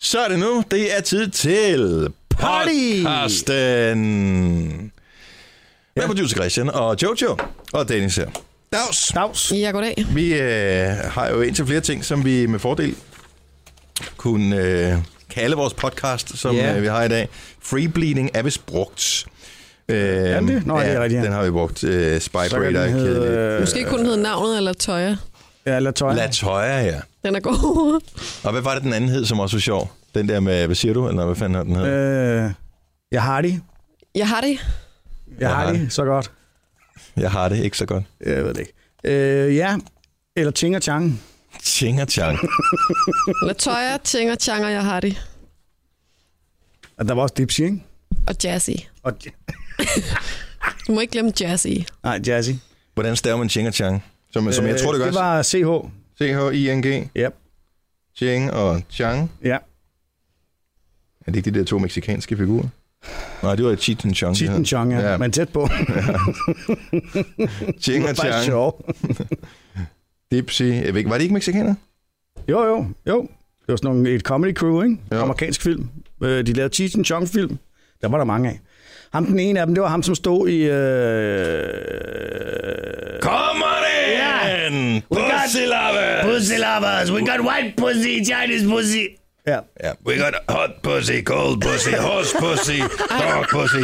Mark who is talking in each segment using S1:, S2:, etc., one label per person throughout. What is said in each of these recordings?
S1: Så er det nu. Det er tid til
S2: Party!
S1: podcasten. Med ja. producer Christian og Jojo og Dennis her. Dags.
S2: Dags.
S3: Ja, goddag.
S1: Vi øh, har jo indtil flere ting, som vi med fordel kunne øh, kalde vores podcast, som
S2: Ja.
S1: yeah. øh, vi har i dag. Free Bleeding er vist brugt. Øh, er
S2: den det? Nå, det er rigtigt, ja.
S1: Den har vi brugt. Øh,
S2: Så kan
S1: Spybrader
S2: den
S1: er kedelig.
S2: hedde... Øh,
S3: Måske kun hedde navnet eller tøjer.
S2: ja, Latoya.
S1: Latøjer, ja.
S3: Den er god.
S1: Og hvad var det, den anden hed, som også var sjov? Den der med, hvad siger du? Eller hvad fanden den hed? Øh.
S2: Øh, jeg har det.
S3: Jeg har det.
S2: Jeg har
S1: Hardy.
S2: det så godt. Øh.
S1: Jeg har det ikke så godt.
S2: Jeg ved det ikke. Øh, ja, eller Ting og Chang.
S1: Ching og chang.
S3: Eller tøjer, tjenger, tjanger, jeg har det.
S2: Og der var også Dipsy, ikke?
S3: Og Jazzy.
S2: Og,
S3: Du må ikke glemme Jazzy.
S2: nej, Jazzy.
S1: Hvordan staver man ching og chang? Som, som jeg tror, det gør.
S2: Øh, Det var CH.
S1: C-H-I-N-G,
S2: Ja.
S1: ching og chang.
S2: Ja.
S1: Er det ikke de der to meksikanske figurer? Nej, det var Cheat and Chong.
S2: Titten Chong, ja.
S1: Ja.
S2: Men tæt på.
S1: Ching og
S2: Bare
S1: chang.
S2: sjov.
S1: Dipsy. Jeg ved ikke, var det ikke mexikaner?
S2: Jo, jo, jo. Det var sådan nogle, et comedy crew, ikke?
S1: Jo.
S2: Jo. Amerikansk film. Øh, De lavede Cheech Chong film. Der var der mange af. Ham den ene af dem, det var ham, som stod i... Øh...
S1: Kommer det! Yeah. Pussy lovers!
S2: Pussy lovers, we got white pussy, Chinese pussy. Ja,
S1: Ja, yeah. we got hot pussy, cold pussy, horse pussy, dog pussy.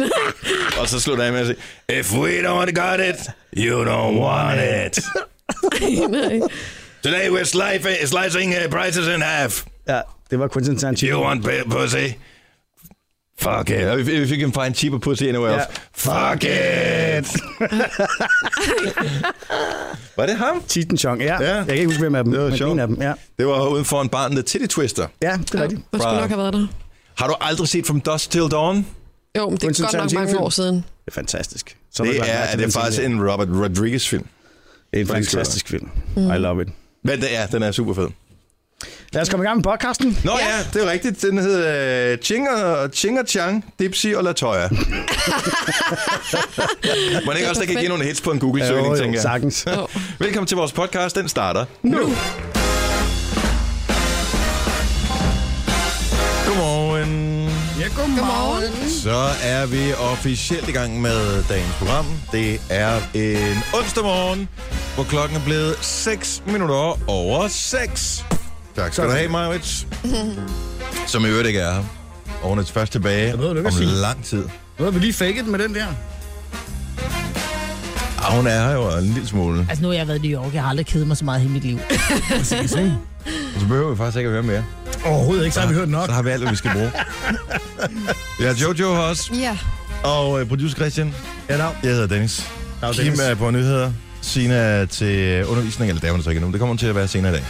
S1: Og så slutter jeg med at sige, If we don't got it, you don't want it.
S3: Nej.
S1: Today we're slicing, slicing uh, prices in half.
S2: ja, det var Quentin Tarantino.
S1: You want p- pussy? Fuck it. If, if you can find cheaper pussy anywhere else,
S2: Ja.
S1: fuck it. var det ham?
S2: Cheech Chong, ja.
S1: Ja.
S2: ja. Jeg kan ikke huske, hvem af dem,
S1: Det var
S2: men
S1: sjovt.
S2: en af dem, ja.
S1: Det var uden for en barn, The Titty Twister.
S2: Ja, det er rigtigt.
S3: Man skulle
S1: Fra-
S3: nok have været der.
S1: Har du aldrig set From Dusk Till Dawn?
S3: Jo, men det
S2: Quentin
S3: er godt nok mange
S2: Tarantino-film.
S3: år siden.
S2: Det er fantastisk. Så
S1: Det
S2: langt
S1: er,
S2: vej til
S1: er det
S2: den
S1: er faktisk
S2: scene.
S1: en Robert Rodriguez-film.
S2: Det er en
S1: Fordi det skal
S2: fantastisk film. I love it.
S1: Men det er, den er super fed.
S2: Lad os komme i gang med podcasten.
S1: Nå ja,
S3: Ja.
S1: ja det er rigtigt. Den hedder øh, Ching og, Ching og Chang, Dipsy og Latoya. Må det ikke også, der kan give nogle hits på en Google-søgning, tænker jeg.
S2: sagtens.
S3: Jo.
S1: Velkommen til vores podcast. Den starter
S2: Nu.
S1: Godmorgen.
S2: Ja, godmorgen.
S1: Så er vi officielt i gang med dagens program. Det er en onsdag morgen, hvor klokken er blevet 6 minutter over 6. Tak skal du have, Majwitz. Som i øvrigt ikke er her. Og hun er først tilbage
S2: behøver du ikke
S1: om
S2: at sige.
S1: lang tid.
S2: Nu har vi lige faked med den der.
S1: Ah, hun er her jo en lille smule.
S4: Altså nu har jeg været i New York, jeg har aldrig kedet mig så meget i hele mit liv.
S1: Så behøver vi faktisk ikke at høre mere.
S2: Overhovedet ikke, så har vi hørt nok.
S1: Så har vi alt, hvad vi skal bruge. Vi har Jojo her også.
S3: Ja.
S1: Og øh, producer Christian.
S2: Ja, dag.
S1: Jeg hedder Dennis.
S2: Dag,
S1: Kim
S2: Dennis.
S1: er på nyheder. Sina er til undervisning, eller det er hun så ikke nu. Det kommer hun til at være senere i dag.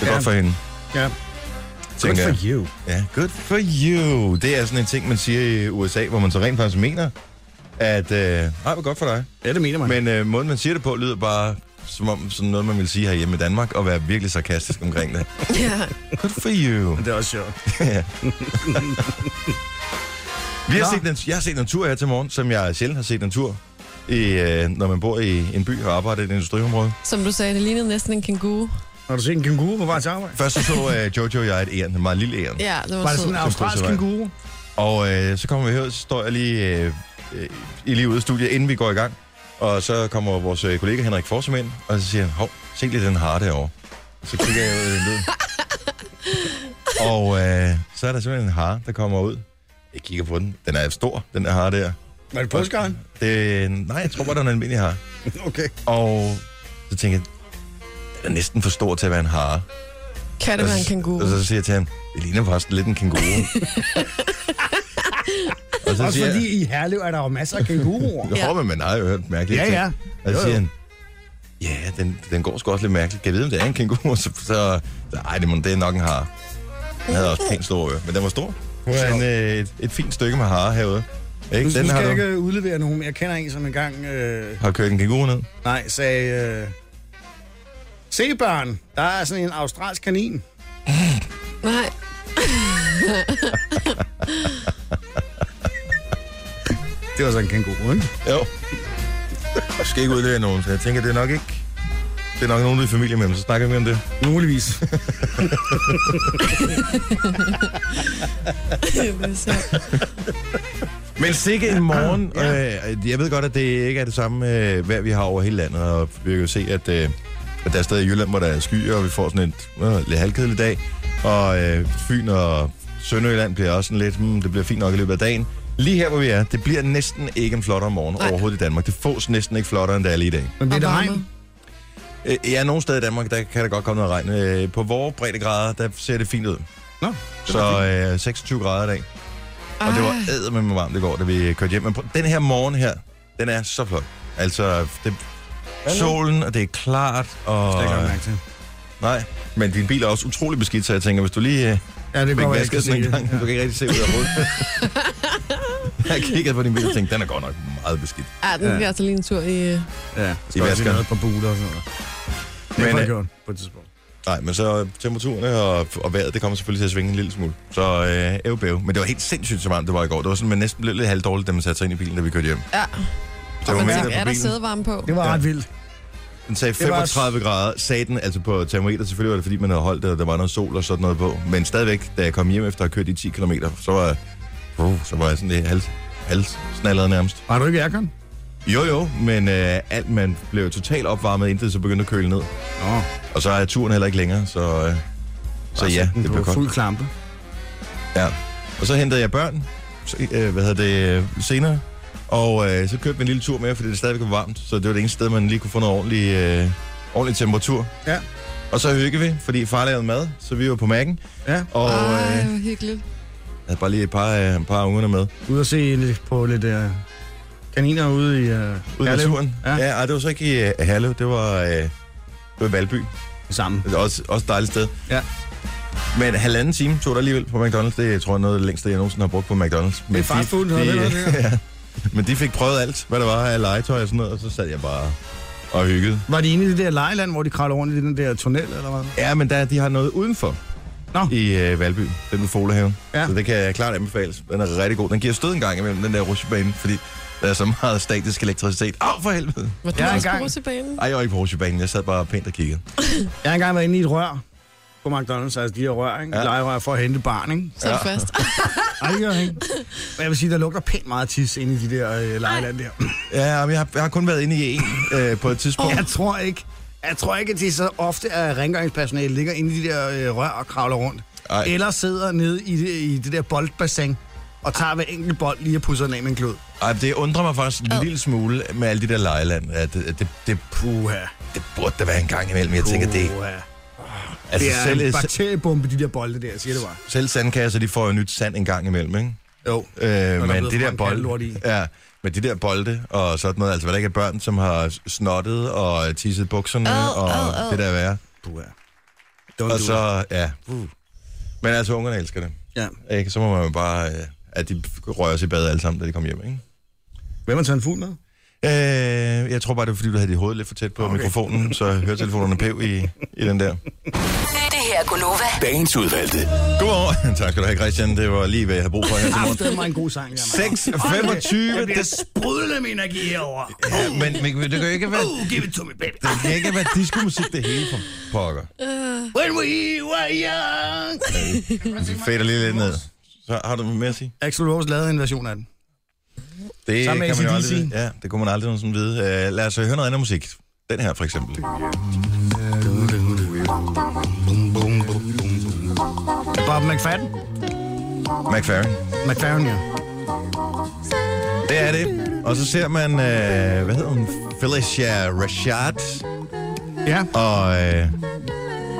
S1: Det er ja.
S2: Ja.
S1: godt for hende.
S2: Ja. Good
S1: tænker
S2: for
S1: jeg.
S2: you.
S1: Ja, good for you. Det er sådan en ting, man siger i USA, hvor man så rent faktisk mener, at øh, nej, hvor godt for dig.
S2: Ja, det mener man.
S1: Men øh, måden, man siger det på, lyder bare som om sådan noget, man vil sige herhjemme i Danmark, og være virkelig sarkastisk omkring det.
S3: ja.
S1: Good for you.
S2: det er også sjovt.
S1: Vi har
S2: Nå.
S1: set en, jeg har set en tur her til morgen, som jeg sjældent har set en tur, i, øh, når man bor i en by og arbejder i et industriområde.
S3: Som du sagde, det lignede næsten en kænguru.
S2: Har du set en kænguru på vej til arbejde?
S1: Først så, så øh, Jojo og jeg et æren, en meget lille æren.
S3: Ja, det var,
S2: Var det
S3: sødt.
S2: sådan en
S1: Som stod
S2: australsk
S1: til vej.
S2: kænguru?
S1: Og øh, så kommer vi her, så står jeg lige, øh, øh, I lige ude af studiet, inden vi går i gang. Og så kommer vores øh, kollega Henrik Forsum ind, og så siger han, hov, se lige den har derovre. Så kigger jeg ud af vinduet. og øh, så er der simpelthen en hare, der kommer ud. Jeg kigger på den. Den er stor, den der hare der.
S2: Var det påskeren?
S1: Det, nej, jeg tror bare, det var en almindelig hare.
S2: Okay.
S1: Og så tænker jeg, den er næsten for stor til at være en hare.
S3: Kan det
S1: Og
S3: være en
S1: så-
S3: kænguru?
S1: Og så siger jeg til ham, det ligner faktisk lidt en kænguru. og så
S2: Også
S1: siger
S2: fordi
S1: jeg,
S2: i Herlev er der jo masser af kænguruer.
S1: jeg håber, man har jo hørt mærkeligt.
S2: Ja, ja.
S1: Og
S2: Jo,
S1: så
S2: jo.
S1: siger han, ja, den, den går sgu også lidt mærkeligt. Kan jeg vide, om det er en kænguru? Så, så, så ej, det, må, det er nok en hare. Den havde også pænt store ører, men den var stor. Det var en, øh, et, et fint stykke med hare herude. Ikke?
S2: Nu, nu
S1: Den har,
S2: skal jeg
S1: du,
S2: ikke øh, udlevere nogen. Jeg kender en, som engang øh,
S1: har kørt en kænguru ned.
S2: nej, sagde... Øh, Se børn, der er sådan en australsk kanin.
S3: Nej.
S2: Det var sådan en kænguru, ikke?
S1: Jo. Jeg skal ikke udlevere nogen, så jeg tænker, det er nok ikke... Det er nok nogen, du er i familie med, men så snakker vi om det.
S2: Muligvis.
S3: det er sjovt.
S1: Men sikke en morgen. Øh, jeg ved godt, at det ikke er det samme øh, vejr, vi har over hele landet, og vi kan jo se, at, øh, at der er steder i Jylland, hvor der er skyer, og vi får sådan en øh, lidt halvkedelig dag. Og øh, Fyn og Sønderjylland bliver også sådan lidt, hmm, det bliver fint nok i løbet af dagen. Lige her, hvor vi er, det bliver næsten ikke en flottere morgen
S3: Nej.
S1: overhovedet i Danmark. Det fås næsten ikke flottere, end det er lige i dag.
S2: Men bliver
S3: Og
S2: det
S3: varme.
S2: regn?
S1: Øh, ja, nogle steder i Danmark, der kan der godt komme noget regn. Øh, på vores breddegrader, der ser det fint ud.
S2: Nå,
S1: Så øh, 26 grader i dag. Og det var
S3: Ah,
S1: ædermame med varmt i går, da vi kørte hjem. Men prøv- den her morgen her, den er så flot. Altså, det, solen, og det er klart, og...
S2: Det kan jeg mærke til.
S1: Nej, men din bil er også utrolig beskidt, så jeg tænker, hvis du lige øh,
S2: Ja, det
S1: fik
S2: godt, være, jeg
S1: vasket sådan en
S2: skal se
S1: gang,
S2: det.
S1: ja. du kan ikke rigtig se ud af hovedet. jeg kiggede på din bil og tænkte, den er godt nok meget beskidt.
S3: ah, den bliver altså lige en tur i... øh,
S2: Ja, ja.
S1: I
S2: I vasker.
S1: vasker.
S2: noget på buler og sådan noget. Det
S1: Men,
S2: har
S1: øh,
S2: jeg gjort på et tidspunkt.
S1: Nej, men så temperaturerne og, og vejret, det kommer selvfølgelig til at svinge en lille smule. Så øh, æv bæv. Men det var helt sindssygt, så varmt det var i går. Det var sådan, man næsten blev lidt halvdårligt, da man satte sig ind i bilen, da vi kørte hjem.
S3: Ja,
S1: Så
S3: og
S1: var
S3: man
S1: med
S3: tænker,
S1: på
S3: er der
S1: bilen.
S3: sædevarme på?
S2: Det var
S1: Ja.
S2: ret vildt.
S1: Den sagde
S2: Det var-
S1: 35 grader, sagde den, altså på termometer. Selvfølgelig var det, fordi man havde holdt det, og der var noget sol og sådan noget på. Men stadigvæk, da jeg kom hjem efter at have kørt i 10 km, så var, uh, så var jeg sådan lidt hals, hals nærmest.
S2: Har du ikke aircon?
S1: Jo jo, men øh, alt man blev totalt opvarmet, indtil så begyndte at køle ned.
S2: Nå,
S1: Og så er turen heller ikke længere, så, øh, så
S2: bare
S1: ja,
S2: sæt den
S1: det blev
S2: på
S1: koldt.
S2: Altså, Fuld klampe.
S1: Ja. Og så hentede jeg børn, så, øh, hvad hedder det, øh, senere. Og øh, så kørte vi en lille tur med, fordi det stadigvæk var varmt. Så det var det eneste sted, man lige kunne få noget ordentlig, øh, ordentlig temperatur.
S2: Ja.
S1: Og så hyggede vi, fordi far lavede mad, så vi var på mærken.
S2: Ja,
S1: Og øh,
S3: Ej,
S1: jeg
S3: hvor hyggeligt.
S1: havde bare lige et par, øh, et par af ungerne med.
S2: ude og se lidt på lidt øh, kaniner ude i øh,
S1: Ud i
S2: Herlev.
S1: naturen. Ja.
S2: Ja.
S1: ja ej, det var så ikke i øh, Herlev, det var, øh, det var i Valby.
S2: Sammen.
S1: Det er også, også et dejligt sted.
S2: Ja.
S1: Men halvanden time tog der alligevel på McDonald's. Det tror jeg er noget af det længste, jeg nogensinde har brugt på McDonald's. Men
S2: Det er fast food, noget ved noget, det
S1: ja. Men de fik prøvet alt, hvad der var af legetøj og sådan noget, og så sad jeg bare og hyggede.
S2: Var de inde i det der lejeland, hvor de kravler rundt i den der tunnel, eller hvad?
S1: Ja, men der, de har noget udenfor
S2: Nå.
S1: i øh, Valby, den ved Folehaven.
S2: Ja.
S1: Så det kan jeg klart anbefales. Den er rigtig god. Den giver stød en gang imellem, den der rutsjebane, fordi der er så meget statisk elektricitet. Au, for helvede!
S3: Var du
S2: Jeg er
S3: også
S2: engang-
S3: på rutsjebanen?
S1: Ej, jeg var ikke på rutsjebanen. Jeg sad bare pænt og kiggede.
S2: Jeg har engang været inde i et rør på McDonald's, altså de her rør, ikke?
S1: Ja.
S2: Ja. Lejerør for at hente barn, ikke?
S3: Så er det fast.
S2: Ej, det gør jeg ikke. Men jeg vil sige, der lugter pænt meget tis inde i de der øh, lejeland der.
S1: Ja, men jeg har, jeg har kun været inde i en øh, på et tidspunkt.
S2: Jeg tror ikke, jeg tror ikke, at de så ofte er rengøringspersonale ligger inde i de der øh, rør og kravler rundt.
S1: Ej.
S2: Ej. Eller sidder nede i det, i det der boldbassin og tager hver enkelt bold lige og pusser den af med en klud.
S1: Ej, det undrer mig faktisk en lille smule med alle de der lejeland. At det, det, det,
S2: Puha.
S1: det burde der være en gang imellem. Jeg tænker, det,
S2: Puha.
S1: altså,
S2: Det er en
S1: selv,
S2: bakteriebombe, de der bolde der, siger det bare.
S1: selv sandkasser, de får jo nyt sand en gang imellem, ikke?
S2: Jo.
S1: Øh,
S2: er
S1: men
S2: blevet
S1: det der
S2: mange
S1: bolde,
S2: kattelort i.
S1: ja, men de der bolde og sådan noget, altså hvad der ikke er børn, som har snottet og tisset bukserne
S3: Ad,
S1: og
S3: ad, ad.
S1: det der værre.
S2: Puha. Don't
S1: Og
S2: do it.
S1: så, ja. Uh. Men altså, ungerne elsker det.
S2: Ja.
S1: Ikke? Så må man jo bare, øh, at de rører sig i bad alle sammen, da de kommer hjem, ikke?
S2: Hvem har taget en fugl med?
S1: Øh, jeg tror bare, det var, fordi du havde dit hoved lidt for tæt på okay. mikrofonen, så høretelefonerne pev i, i den der.
S5: Det her er Gunova.
S6: Dagens udvalgte.
S1: Godmorgen. Tak skal du have, Christian. Det var lige, hvad jeg havde brug for her til morgen.
S2: Det var en god sang, jeg
S1: 6.25.
S2: bliver
S1: Det,
S2: sprudlet med energi herovre.
S1: ja, men, men det kan jo ikke være,
S2: Oh, give it to me, baby.
S1: det kan ikke være diskomusik det hele for pokker.
S2: When we were young.
S1: Vi Altså, fader lige lidt ned. Så har du mere at sige?
S2: Axel Rose lavede en version af den.
S1: Det
S2: Sammen med
S1: kan man jo
S2: AC/DC.
S1: aldrig vide. Ja, det kunne man aldrig nogensinde vide. Uh, lad os høre noget andet musik. Den her for eksempel.
S2: Bob McFadden.
S1: McFerrin.
S2: McFadden, ja.
S1: Det er det. Og så ser man, uh, hvad hedder hun? Felicia Rashad.
S2: Ja,
S1: og øh,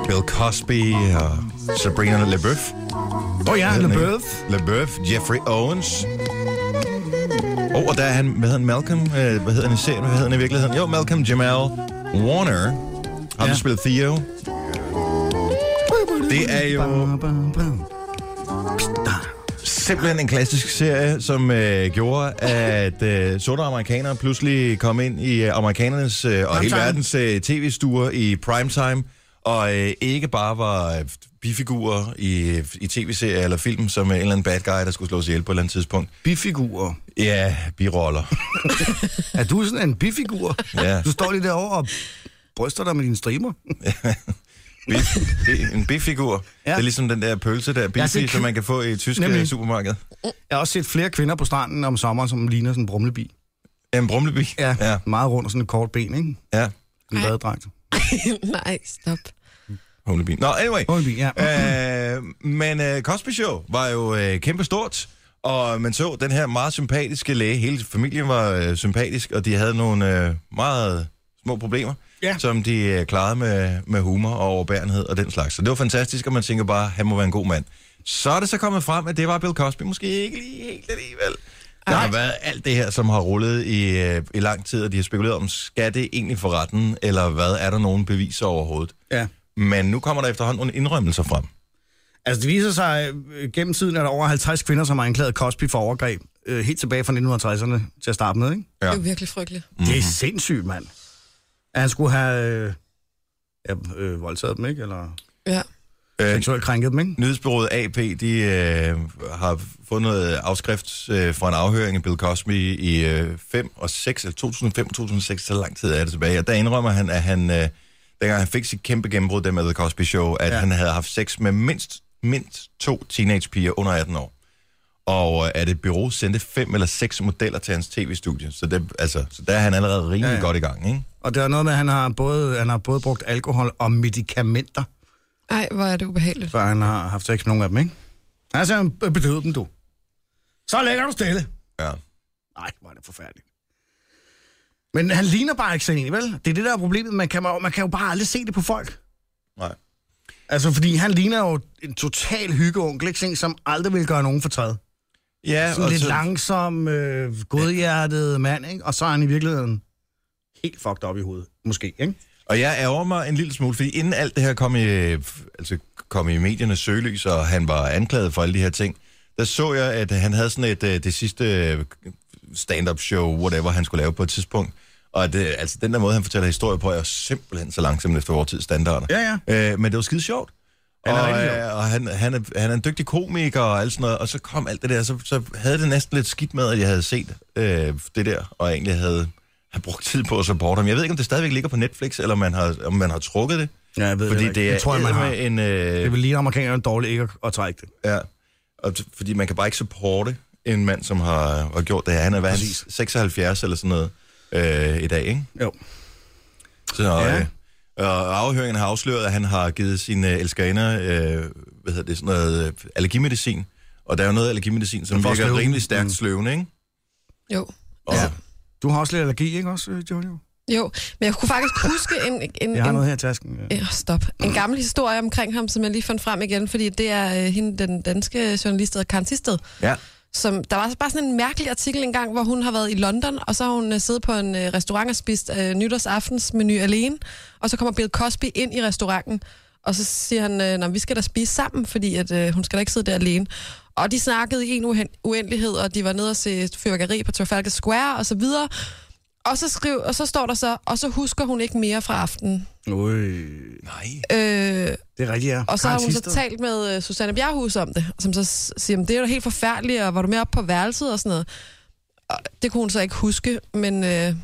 S1: Bill Cosby og Sabrina LeBeouf.
S2: åh oh, ja,
S1: Hvad hedder han,
S2: LeBeouf.
S1: ikke? LeBeouf, Jeffrey Owens. Oh, og der er han, hvad hedder han, Malcolm? Øh, hvad hedder han i serien? Hvad hedder han i virkeligheden? Jo, Malcolm Jamal Warner. Har ja.
S2: Ja.
S1: du spillet Theo? Det er jo simpelthen en klassisk serie, som øh, gjorde, at øh, sorte amerikanere pludselig kom ind i øh, amerikanernes øh, og hele
S2: Primetime.
S1: verdens øh, tv-stuer i primetime, og øh, ikke bare var øh, bifigurer i, i tv-serier eller film, som øh, en eller anden bad guy, der skulle slås ihjel på et eller andet tidspunkt.
S2: Bifigurer.
S1: Ja, biroller.
S2: Er du sådan en bifigur?
S1: Ja.
S2: Du står lige derovre og bryster dig med dine striber.
S1: Bif, bi, en bifigur. Ja.
S2: Ja.
S1: Det er ligesom den der pølse der, bifi,
S2: Ja,
S1: ja,
S2: det-
S1: som man kan få i tyske Nemlig.
S2: Nemlig.
S1: supermarked.
S2: Jeg har også set flere kvinder på stranden om sommeren, som ligner sådan en brumlebi.
S1: En brumlebi.
S2: Ja,
S1: ja.
S2: ja. meget rundt og sådan et kort ben, ikke?
S1: ja.
S2: En
S3: Ej.
S2: badedragt.
S3: Nej, stop.
S1: Humlebi. Nå, anyway.
S2: Brumlebi, ja.
S1: Øh, men øh, Cosby Show var jo øh, kæmpe stort, og man så den her meget sympatiske læge. Hele familien var øh, sympatisk, og de havde nogle øh, meget små problemer,
S2: Ja.
S1: som de øh, klarede med, med humor og overbærenhed og den slags. Så det var fantastisk, og man tænker bare, han må være en god mand. Så er det så kommet frem, at det var Bill Cosby måske ikke lige helt alligevel. Der har været alt det her, som har rullet i, øh, i lang tid, og de har spekuleret om, skal det egentlig for retten, eller hvad? Er der nogen beviser overhovedet?
S2: ja.
S1: Men nu kommer der efterhånden nogle indrømmelser frem.
S2: Altså, det viser sig, øh, gennem tiden er der over 50 kvinder, som har anklaget Cosby for overgreb. Øh, helt tilbage fra 1960'erne til at starte med, ikke?
S3: Ja. Det er jo virkelig frygteligt.
S2: Mm-hmm. Det er sindssygt, mand. At han skulle have øh, ja, øh, voldtaget dem, ikke? Eller
S3: Ja.
S1: Øh,
S2: seksuelt krænket dem, ikke?
S1: nyhedsbyrået AP, de øh, har fundet noget afskrift øh, fra en afhøring af Bill Cosby i øh, 5 og 6, eller 2005 og 2006, så lang tid er det tilbage. Og der indrømmer han, at han, øh, dengang han fik sit kæmpe gennembrud, det med The Cosby Show, at ja.
S2: Ja.
S1: han havde haft sex med mindst, mindst to teenagepiger under 18 år. Og øh, at et bureau sendte fem eller seks modeller til hans tv-studie. Så, det, altså, så der er han allerede rimelig ja,
S2: Ja,
S1: ja.
S2: ja.
S1: godt i gang, ikke?
S2: Og det er noget med, at han har både, han har både brugt alkohol og medicamenter,
S3: Ej, hvor er det ubehageligt.
S2: før han har haft sex med nogle af dem, ikke? Altså, han bedøvede dem, du. Så lægger du stille.
S1: Ja.
S2: Nej, hvor er det forfærdeligt. Men han ligner bare ikke sådan en, vel? Det er det, der er problemet. Man kan, man kan jo bare aldrig se det på folk.
S1: Nej.
S2: Altså, fordi han ligner jo en total hyggeonkel, ikke? Sådan en, som aldrig vil gøre nogen fortræd.
S1: Ja,
S2: Sådan lidt langsom, øh, godhjertet mand, ikke? Og så er han i virkeligheden helt fucked op i hovedet. Måske, ikke?
S1: Og jeg ærger mig en lille smule, fordi inden alt det her kom i, øh, altså, kom i mediernes søgelys, og han var anklaget for alle de her ting, der så jeg, at han havde sådan et, øh, det sidste øh, stand-up show, whatever han skulle lave på et tidspunkt. Og at, øh, altså, den der måde, han fortæller historier på, er jo simpelthen så langsomt efter vores tids standarder.
S2: Ja,
S1: Øh, men det var skide sjovt.
S2: Han er
S1: og,
S2: rigtig sjov.
S1: øh, og han, han, er, han er en dygtig komiker og alt sådan noget, og så kom alt det der, så, så havde det næsten lidt skidt med, at jeg havde set øh, det der, og egentlig havde, havde brugt tid på at supporte ham. Jeg ved ikke, om det stadigvæk ligger på Netflix, eller om man har, om man har trukket det,
S2: Ja, jeg ved
S1: fordi
S2: ikke.
S1: det er
S2: det tror jeg, man har.
S1: eddermame en...
S2: Det er
S1: Øh,
S2: vel lige amerikanerne dårligt ikke at, at trække det.
S1: ja, og t- fordi man kan bare ikke supporte en mand, som har, har gjort det her. Han er været
S2: Præcis.
S1: 76 eller sådan noget øh, i dag, ikke?
S2: Jo.
S1: Så, ja.
S2: Ja.
S1: øh, og afhøringen har afsløret, at han har givet sine øh, elskerinder øh, hvad hedder det, sådan noget øh, allergimedicin. Og der er jo noget allergimedicin, som
S2: For
S1: virker
S2: sløven.
S1: rimelig stærkt
S2: Mm.
S1: sløvende, ikke?
S3: Jo. Altså,
S1: Og, ja.
S2: Ja. Du har også lidt allergi, ikke også, øh, Jojo?
S3: Jo, men jeg kunne faktisk huske en, en,
S2: Jeg har
S3: en,
S2: noget her i tasken. Ja.
S3: Ja, stop. En gammel historie omkring ham, som jeg lige fandt frem igen, fordi det er øh, hende, den danske journalist, der hedder Karen Thisted,
S1: ja.
S3: som, der var bare sådan en mærkelig artikel engang, hvor hun har været i London, og så har hun øh, siddet på en øh, restaurant og spist øh, nytårsaftensmenu alene, og så kommer Bill Cosby ind i restauranten, og så siger han, øh, "Nå, men vi skal da spise sammen, fordi at, øh, hun skal da ikke sidde der alene. Og de snakkede i en uhen- uendelighed, og de var nede og se fyrværkeri på Trafalgar Square og så videre. Og så, skriv, og så står der så, og så husker hun ikke mere fra aftenen.
S2: Ui,
S1: Nej.
S3: Øh,
S2: det er rigtigt, ja.
S3: og så har
S2: Karen
S3: hun så
S2: Thisted.
S3: talt med øh, Susanne Bjerghus om det, som så s- siger, "Men det er jo helt forfærdeligt, og var du med op på værelset og sådan noget. Og det kunne hun så ikke huske, men øh,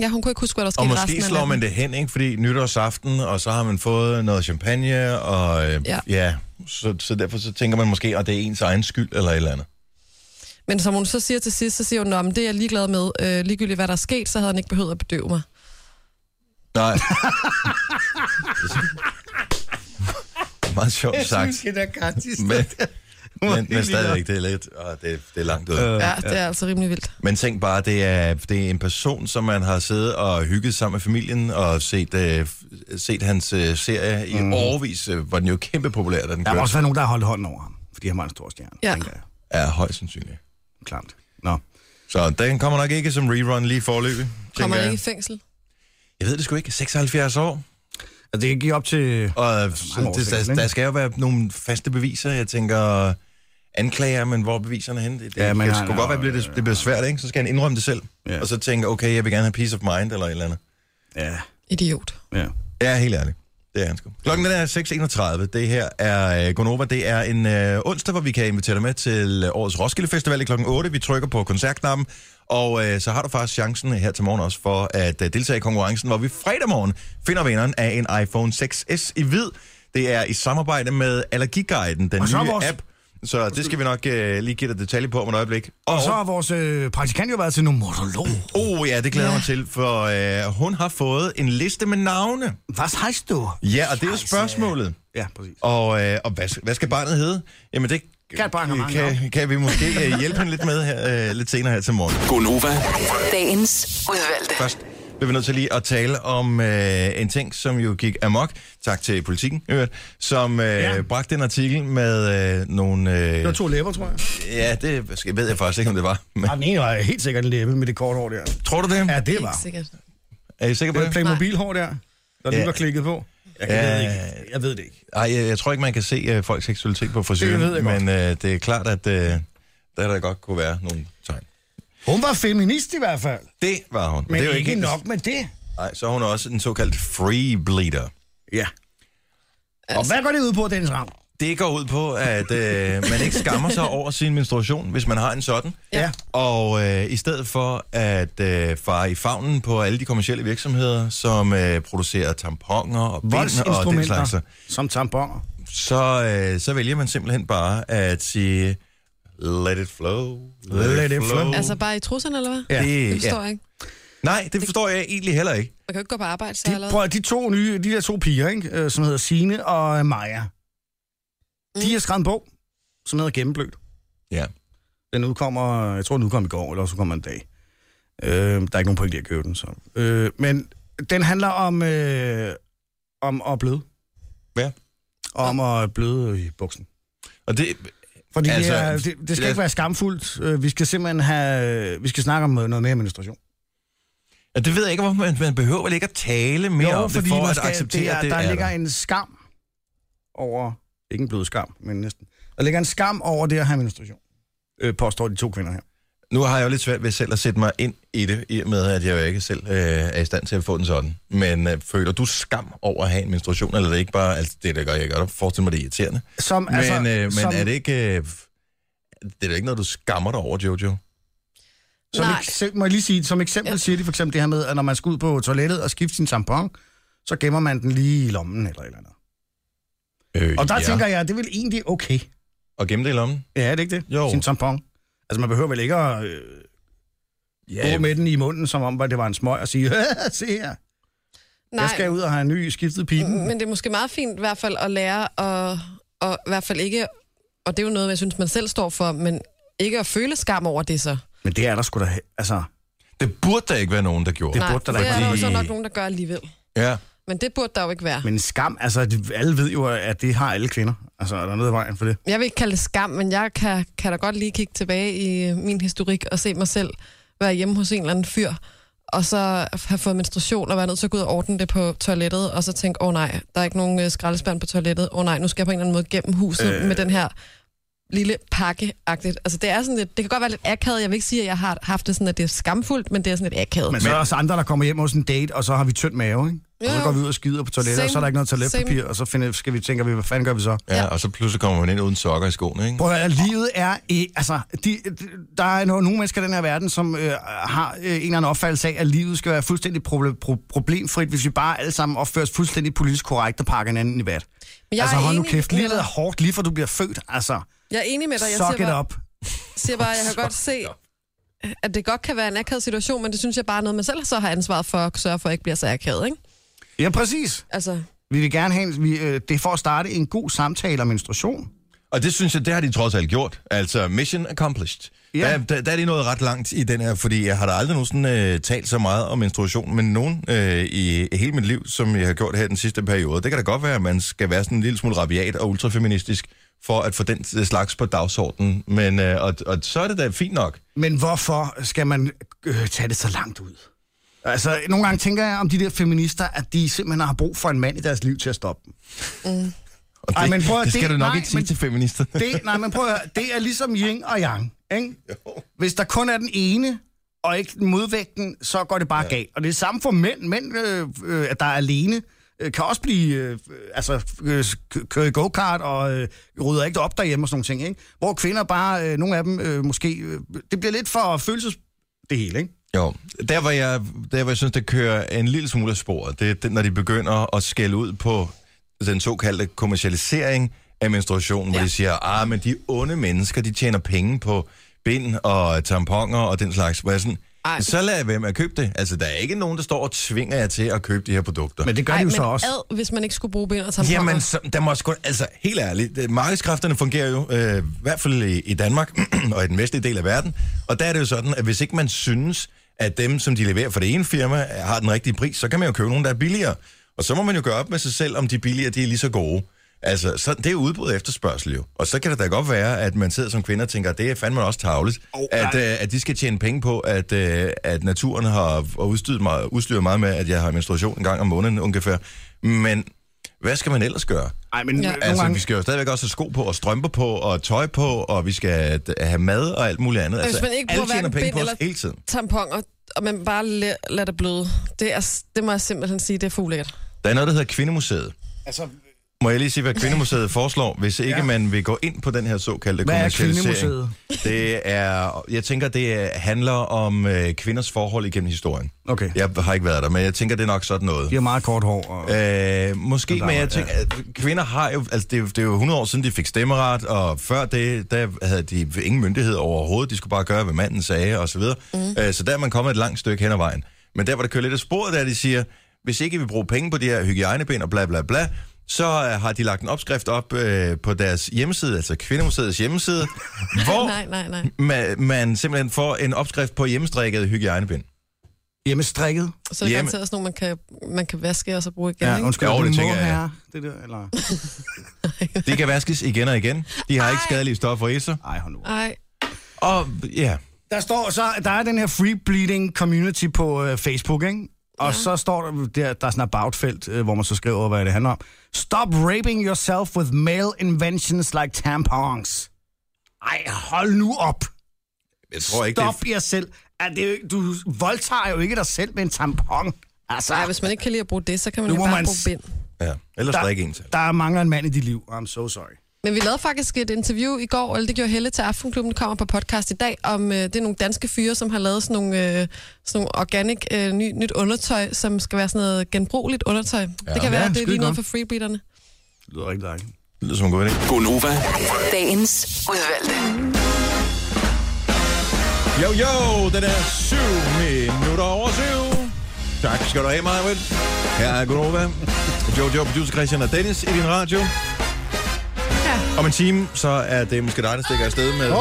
S3: ja, hun kunne ikke huske, hvad der skete
S1: Og
S3: resten
S1: måske
S3: af
S1: slår man
S3: natten.
S1: det hen, ikke? Fordi nytårsaften, og så har man fået noget champagne, og øh, ja,
S3: Ja.
S1: ja så, så derfor så tænker man måske, at det er ens egen skyld, eller et eller andet.
S3: Men som hun så siger til sidst, så siger hun, "Nå, men det er jeg ligeglad med. Øh, ligegyldigt hvad der er sket, så havde han ikke behøvet at bedøve mig.
S1: Nej. Meget sjovt sagt.
S2: Det er Karen Thisted.
S1: Men,
S2: Hun
S1: men, men
S2: var helt ligeglad.
S1: stadigvæk, det er lidt... Åh, det, det er langt ud.
S3: Ja, det er altså rimelig vildt.
S1: Men tænk bare, det er, det er en person, som man har siddet og hygget sammen med familien og set, øh, set hans øh, serie i mm. årvis, øh, hvor den jo kæmpe populær, da den
S2: Der må
S1: kørte.
S2: Mhm. også være nogen, der har holdt hånden over ham, fordi han var en stor stjerne,
S3: Ja.
S2: tænker jeg.
S1: Er højst sandsynlig.
S2: Klamt. Nå.
S1: Så den kommer nok ikke som rerun lige forløbig,
S3: Kommer
S1: tænker
S3: han
S1: jeg.
S3: ikke i fængsel?
S1: Jeg ved det sgu ikke. 76 år.
S2: Altså, det kan give op til...
S1: Og
S2: mange år
S1: det, der,
S2: siden, ikke?
S1: der skal jo være nogle faste beviser. Jeg tænker, anklager, men hvor er beviserne henne? Det, det, ja,
S2: Ja,
S1: men,
S2: men
S1: det
S2: han-
S1: skulle godt være, at det, bliver- det bliver svært, ikke? Så skal han indrømme det selv. Ja.
S2: Ja.
S1: Og så tænke, okay, jeg vil gerne have peace of mind, eller et eller andet.
S2: Ja,
S3: Idiot.
S2: ja.
S1: Ja, helt ærligt. Det er han sgu. Klokken den er 6.31. Det her er øh, Gonova. Det er en øh, onsdag, hvor vi kan invitere dig med til øh, årets Roskilde Festival i klokken 8. Vi trykker på koncertknappen, Og øh, så har du faktisk chancen her til morgen også for at øh, deltage i konkurrencen, hvor vi fredag morgen finder vinderen af en iPhone 6s i hvid. Det er i samarbejde med Allergiguiden, den
S2: Og så er
S1: nye
S2: vores-
S1: app. Så det skal vi nok øh, lige give dig detalje på om et øjeblik.
S2: Og så har vores øh, praktikant jo været til nogle monolog.
S1: Oh ja, det glæder jeg mig til, for øh, hun har fået en liste med navne.
S2: Hvad hejst du?
S1: Ja, og det er jo spørgsmålet.
S2: Ja, præcis.
S1: Og, øh, og hvad, hvad skal barnet hedde? Jamen det
S2: Kan barnet mange
S1: kan,
S2: navne?
S1: kan vi måske øh, hjælpe hende lidt med her, øh, lidt senere her til morgen.
S6: Gonova.
S5: Dagens udvalgte.
S1: Først bliver vi nødt til lige at tale om øh, en ting, som jo gik amok. Tak til politikken, i øvrigt, som øh, ja.
S2: Ja.
S1: bragte en artikel med øh, nogle...
S2: Det
S1: Øh,
S2: var to læber, tror jeg.
S1: ja, det skal- ved jeg faktisk ikke, om det var. Men,
S2: Ja, den ene var helt sikkert en læbe med det korte hår der.
S1: tror du det?
S2: Ja,
S1: Ja.
S2: det var.
S3: Ikke sikkert.
S1: Er I sikre
S2: Det
S1: på
S2: var et
S1: det?
S2: Playmobil-hår der, der lige
S1: Ja.
S2: var klikket på. Jeg,
S1: Ja.
S2: jeg, ved ikke. jeg ved det ikke.
S1: Ej, jeg, jeg tror ikke, man kan se øh, folks seksualitet på frisøren,
S2: Det ved jeg godt.
S1: men øh, det er klart, at øh, der, der godt kunne være nogle tegn.
S2: Hun var feminist i hvert fald.
S1: Det var hun. og
S2: Men
S1: det
S2: det
S1: er
S2: er ikke
S1: helt-
S2: nok med det.
S1: Nej, så er hun også en såkaldt free bleeder.
S2: Ja. Altså- Og hvad går det ud på, Dennis Ram?
S1: Det går ud på, at øh, man ikke skammer sig over sin menstruation, hvis man har en sådan.
S2: Ja.
S1: Og øh, i stedet for at øh, fare i favnen på alle de kommersielle virksomheder, som øh, producerer tamponer og bind og den slags,
S2: Voldsinstrumenter som tamponer.
S1: så, øh, så vælger man simpelthen bare at sige, let it flow, let,
S2: Let
S1: it
S2: it
S1: flow.
S2: flow.
S3: Altså bare i trusserne, eller hvad?
S2: Ja.
S3: Det
S1: det,
S3: forstår
S1: Uh. ja.
S3: jeg ikke.
S1: Nej, det forstår jeg egentlig heller ikke.
S3: Man kan jo ikke gå på arbejde, så
S2: De,
S3: allerede.
S2: prøv, at- de to nye, de der to piger, ikke? Øh, som hedder Sine og øh, Maja, de har skrevet en bog, som hedder Gennemblødt.
S1: Ja.
S2: Den udkommer, jeg tror den udkom i går, eller også udkommer den i dag. Øh, der er ikke nogen point i at købe den, så. Øh, men den handler om, øh, om at bløde.
S1: Ja.
S2: Og om at bløde i buksen.
S1: Og det,
S2: Fordi
S1: Altså,
S2: altså, det, er, det, det skal
S1: lad-
S2: ikke være skamfuldt. Øh, Vi skal simpelthen have, vi skal snakke om øh, noget mere menstruation.
S1: Ja, det ved jeg ikke, hvorfor man, man behøver vel ikke at tale mere om det, for
S2: man
S1: at acceptere,
S2: det er,
S1: at det
S2: der
S1: er
S2: ligger
S1: der.
S2: en skam over, ikke en blød skam, men næsten. Der ligger en skam over det at have menstruation, øh, påstår de to kvinder her.
S1: Nu har jeg jo lidt svært ved selv at sætte mig ind i det, i og med, at jeg jo ikke selv øh, er i stand til at få den sådan. Men øh, føler du skam over at have en menstruation, eller er det ikke bare, altså det der gør jeg godt, forestille mig det er irriterende.
S2: Som,
S1: Men,
S2: altså,
S1: altså, øh, men
S2: som,
S1: er det ikke, øh, det er da ikke noget, du skammer dig over, Jojo?
S2: Som
S3: Nej.
S2: eksempel, må jeg lige sige, som eksempel
S3: Ja.
S2: ja. siger de for eksempel det her med, at når man skal ud på toilettet og skifte sin tampon, så gemmer man den lige i lommen eller et eller andet.
S1: Øh,
S2: Og der
S1: ja.
S2: ja. tænker jeg, at det er vel egentlig okay.
S1: Og gemme det i lommen?
S2: Ja, er det ikke det?
S1: Jo.
S2: Sin tampon. Altså, man behøver vel ikke at øh, gå med den i munden, som om at det var en smøg, og sige, "Haha, se her, Nej. jeg skal ud og have en ny skiftet pipen.
S3: Men det er måske meget fint i hvert fald at lære, og, og i hvert fald ikke, og det er jo noget, jeg synes, man selv står for, men ikke at føle skam over det så.
S2: Men det er der sgu da, he- altså...
S1: Det burde der ikke være nogen, der gjorde.
S2: burde der da
S3: det
S2: ikke
S3: er der jo så
S2: lige-
S3: nok nogen, der gør alligevel.
S1: Ja.
S3: Men det burde der jo ikke være.
S2: Men skam, altså, de- alle ved jo, at det har alle kvinder. Altså, er der noget i vejen for det?
S3: Jeg vil ikke kalde det skam, men jeg kan, kan da godt lige kigge tilbage i øh, min historik og se mig selv være hjemme hos en eller anden fyr, og så have fået menstruation og være nødt til at gå ud og ordne det på toilettet, og så tænke, åh oh, nej, der er ikke nogen øh, skraldespand på toilettet, åh oh, nej, nu skal jeg på en eller anden måde gennem huset øh... med den her lille pakke-agtigt. Altså det er sådan lidt, det kan godt være lidt akavet, jeg vil ikke sige, at jeg har haft det sådan, at det er skamfuldt, men det er sådan lidt akavet.
S2: Men så er der også andre, der kommer hjem hos en date, og så har vi tynd mave, ikke? Og
S3: Jo,
S2: så
S3: jo.
S2: går vi ud og skider på toilettet, og så er der ikke noget
S3: Same.
S2: toiletpapir, og så finder, skal vi, tænker vi, hvad fanden gør vi så?
S1: ja,
S3: Ja.
S1: og så pludselig kommer man ind uden sokker i skoene, ikke?
S2: Prøv at høre, livet er... Øh, altså, de, de, der er no- nogle mennesker i den her verden, som øh, har øh, en eller anden opfattelse af, at livet skal være fuldstændig proble- pro- problemfrit, hvis vi bare alle sammen opføres fuldstændig politisk korrekt og pakker hinanden i vat.
S3: Men jeg
S2: Altså,
S3: er
S2: hold nu
S3: enig
S2: kæft,
S3: med
S2: livet er
S3: dig.
S2: hårdt, lige for du bliver født, altså.
S3: Jeg er enig med dig, jeg
S2: Suck
S3: siger
S2: it
S3: bare,
S2: up.
S3: siger bare, at jeg kan godt se, at det godt kan være en akavet situation, men det synes jeg bare er noget, man selv så har ansvaret for at sørge for, at ikke bliver så akavet, ikke?
S2: Ja, præcis.
S3: Altså,
S2: Vi vil gerne have... En, vi, øh, det er for at starte en god samtale om menstruation.
S1: Og det synes jeg, det har de trods alt gjort. Altså, mission accomplished. Ja.
S2: Ja.
S1: Der, der, der er de nået ret langt i den her, fordi jeg har da aldrig nogensinde øh, talt så meget om menstruation med nogen øh, i hele mit liv, som jeg har gjort her den sidste periode. Det kan da godt være, at man skal være sådan en lille smule rabiat og ultrafeministisk for at få den øh, slags på dagsordenen. Men, øh, og, og så er det da fint nok.
S2: Men hvorfor skal man øh, tage det så langt ud? Altså, nogle gange tænker jeg om de der feminister, at de simpelthen har brug for en mand i deres liv til at stoppe dem.
S1: Og det,
S2: Ej, men prøv at-
S1: det skal
S2: det-
S1: du nok
S2: nej,
S1: ikke sige
S2: men-
S1: til feministerne.
S2: Det, nej, men prøv at høre, det er ligesom yin og yang, ikke? Hvis der kun er den ene, og ikke modvægten, så går det bare ja. galt. Og det er samme for mænd. Mænd, øh, øh, at der er alene, øh, kan også blive, øh, altså, øh, k- køre i go-kart og øh, rydder ikke op derhjemme og sådan nogle ting, ikke? Hvor kvinder bare, øh, nogle af dem øh, måske, øh, det bliver lidt for følelses det hele, ikke?
S1: Jo, der hvor, jeg, der hvor jeg synes, det kører en lille smule af sporet, det er, det, når de begynder at skælde ud på den såkaldte kommercialisering af menstruation, ja. hvor
S3: Ja.
S1: de siger, ah, men de onde mennesker, de tjener penge på bind og tamponer og den slags. Hvor jeg sådan,
S3: Ej.
S1: så lad være med at købe det. Altså, der er ikke nogen, der står og tvinger jer til at købe de her produkter.
S2: Men det gør Ej, de jo
S3: men
S2: så også.
S3: Ad, hvis man ikke skulle bruge ben og tamponer.
S1: Jamen, så, der må sgu, altså helt ærligt, det- markedskræfterne fungerer jo, øh, i hvert fald i, i Danmark og i den vestlige del af verden, og der er det jo sådan, at hvis ikke man synes, at dem, som de leverer for det ene firma, øh, har den rigtige pris, så kan man jo købe nogen, der er billigere. Og så må man jo gøre op med sig selv, om de billigere, de er lige så gode. Altså, så, det er jo udbud og efterspørgsel jo. Og så kan det da godt være, at man sidder som kvinde og tænker, det er fandme også tavligt, oh, at, øh, at de skal tjene penge på, at, øh, at naturen har og udstyret mig, udstyret mig med, at jeg har menstruation en gang om måneden ungefær. Men hvad skal man ellers gøre?
S2: Nej, men
S3: Ja.
S2: ja. nogle
S1: Altså,
S2: gange...
S1: vi skal jo stadigvæk også have sko på, og strømper på, og tøj på, og vi skal d- have mad og alt muligt andet.
S3: Og hvis
S1: Altså,
S3: man ikke
S1: alle
S3: bruger
S1: tjener
S3: hverken
S1: penge
S3: bind
S1: på os
S3: eller-
S1: hele tiden.
S3: tamponer, og man bare la- lader det bløde. Det, er, s- det må jeg simpelthen sige, det er for ulækkert.
S1: Der er noget, der hedder Kvindemuseet.
S2: Altså,
S1: Må jeg lige sige, hvad Kvindemuseet foreslår, hvis ikke ja.
S2: Ja.
S1: man vil gå ind på den her såkaldte
S2: Hvad er
S1: kommercialisering? Det er, jeg tænker, det handler om øh, kvinders forhold igennem historien.
S2: okay. Ja.
S1: Jeg har ikke været der, men jeg tænker, det er nok sådan noget.
S2: De har meget kort hår. Og...
S1: Øh, måske,
S2: der
S1: men
S2: var-
S1: jeg tænker, at kvinder har jo, altså det, er jo- det er jo 100 år siden, de fik stemmeret, og før det, der havde de ingen myndighed overhovedet, de skulle bare gøre, hvad manden sagde, og så videre. Mm. Øh, så der er man kommet et langt stykke hen ad vejen. Men der, hvor der kører lidt af sporet, der de siger, hvis ikke vi bruger penge på de her hygiejnebind og bla bla bla, så øh, har de lagt en opskrift op øh, på deres hjemmeside, altså Kvindemuseets hjemmeside, hvor
S3: Nej, nej, nej.
S1: man, man simpelthen får en opskrift på hjemmestrikket hygiejnebind.
S2: Hjemmestrikket.
S3: Så er det
S1: Jamen.
S3: garanteret sådan nogle, man kan, man kan vaske og så bruge igen.
S2: Ja,
S3: Ja,
S2: undskyld.
S1: Jo, det
S2: må
S1: tænker jeg, ja.
S2: være Det der, eller...
S1: De kan vaskes igen og igen. De har ikke skadelige stoffer i sig.
S2: Ej, hold nu. op.
S3: Ej,
S1: Og ja...
S2: Der står så, der er den her free bleeding community på øh, Facebook, ikke? Og ja. så står der, der, der er sådan et about-felt, øh, hvor man så skriver, hvad det handler om. Stop raping yourself with male inventions like tampons. Ej, hold nu op.
S1: Jeg tror ikke,
S2: Stop
S1: det
S2: jer selv. Er det, er jo ikke- du voldtager jo ikke dig selv med en tampon. Altså,
S3: ej, hvis man ikke kan lide at bruge det, så kan man
S2: Nu
S3: jo
S2: må
S3: bare
S2: man
S3: bruge
S2: s-
S3: bind.
S1: Ja, ellers der, er ikke en til.
S2: der mangler en mand i dit liv. I'm so sorry.
S3: Men vi lavede faktisk et interview i går, eller det gjorde Helle til Aftenklubben, der kommer på podcast i dag, om øh, det er nogle danske fyre, som har lavet sådan nogle, øh, sådan nogle organic øh, ny, nyt undertøj, som skal være sådan noget genbrugeligt undertøj. Ja, det kan være,
S2: Ja,
S3: at det er lige
S2: skide
S3: noget for
S2: godt.
S3: freebeaterne.
S2: Det lyder ikke dig.
S1: Det lyder som en god idé.
S6: Gonova,
S5: Dagens udvalgte.
S1: Jo, jo, den er syv minutter over syv. Tak skal du have, Marvind. Her er Gunova. Jojo, producer Christian og Dennis i din radio. Ja. Om en time, så er det måske dig, der stikker afsted med... Åh, oh.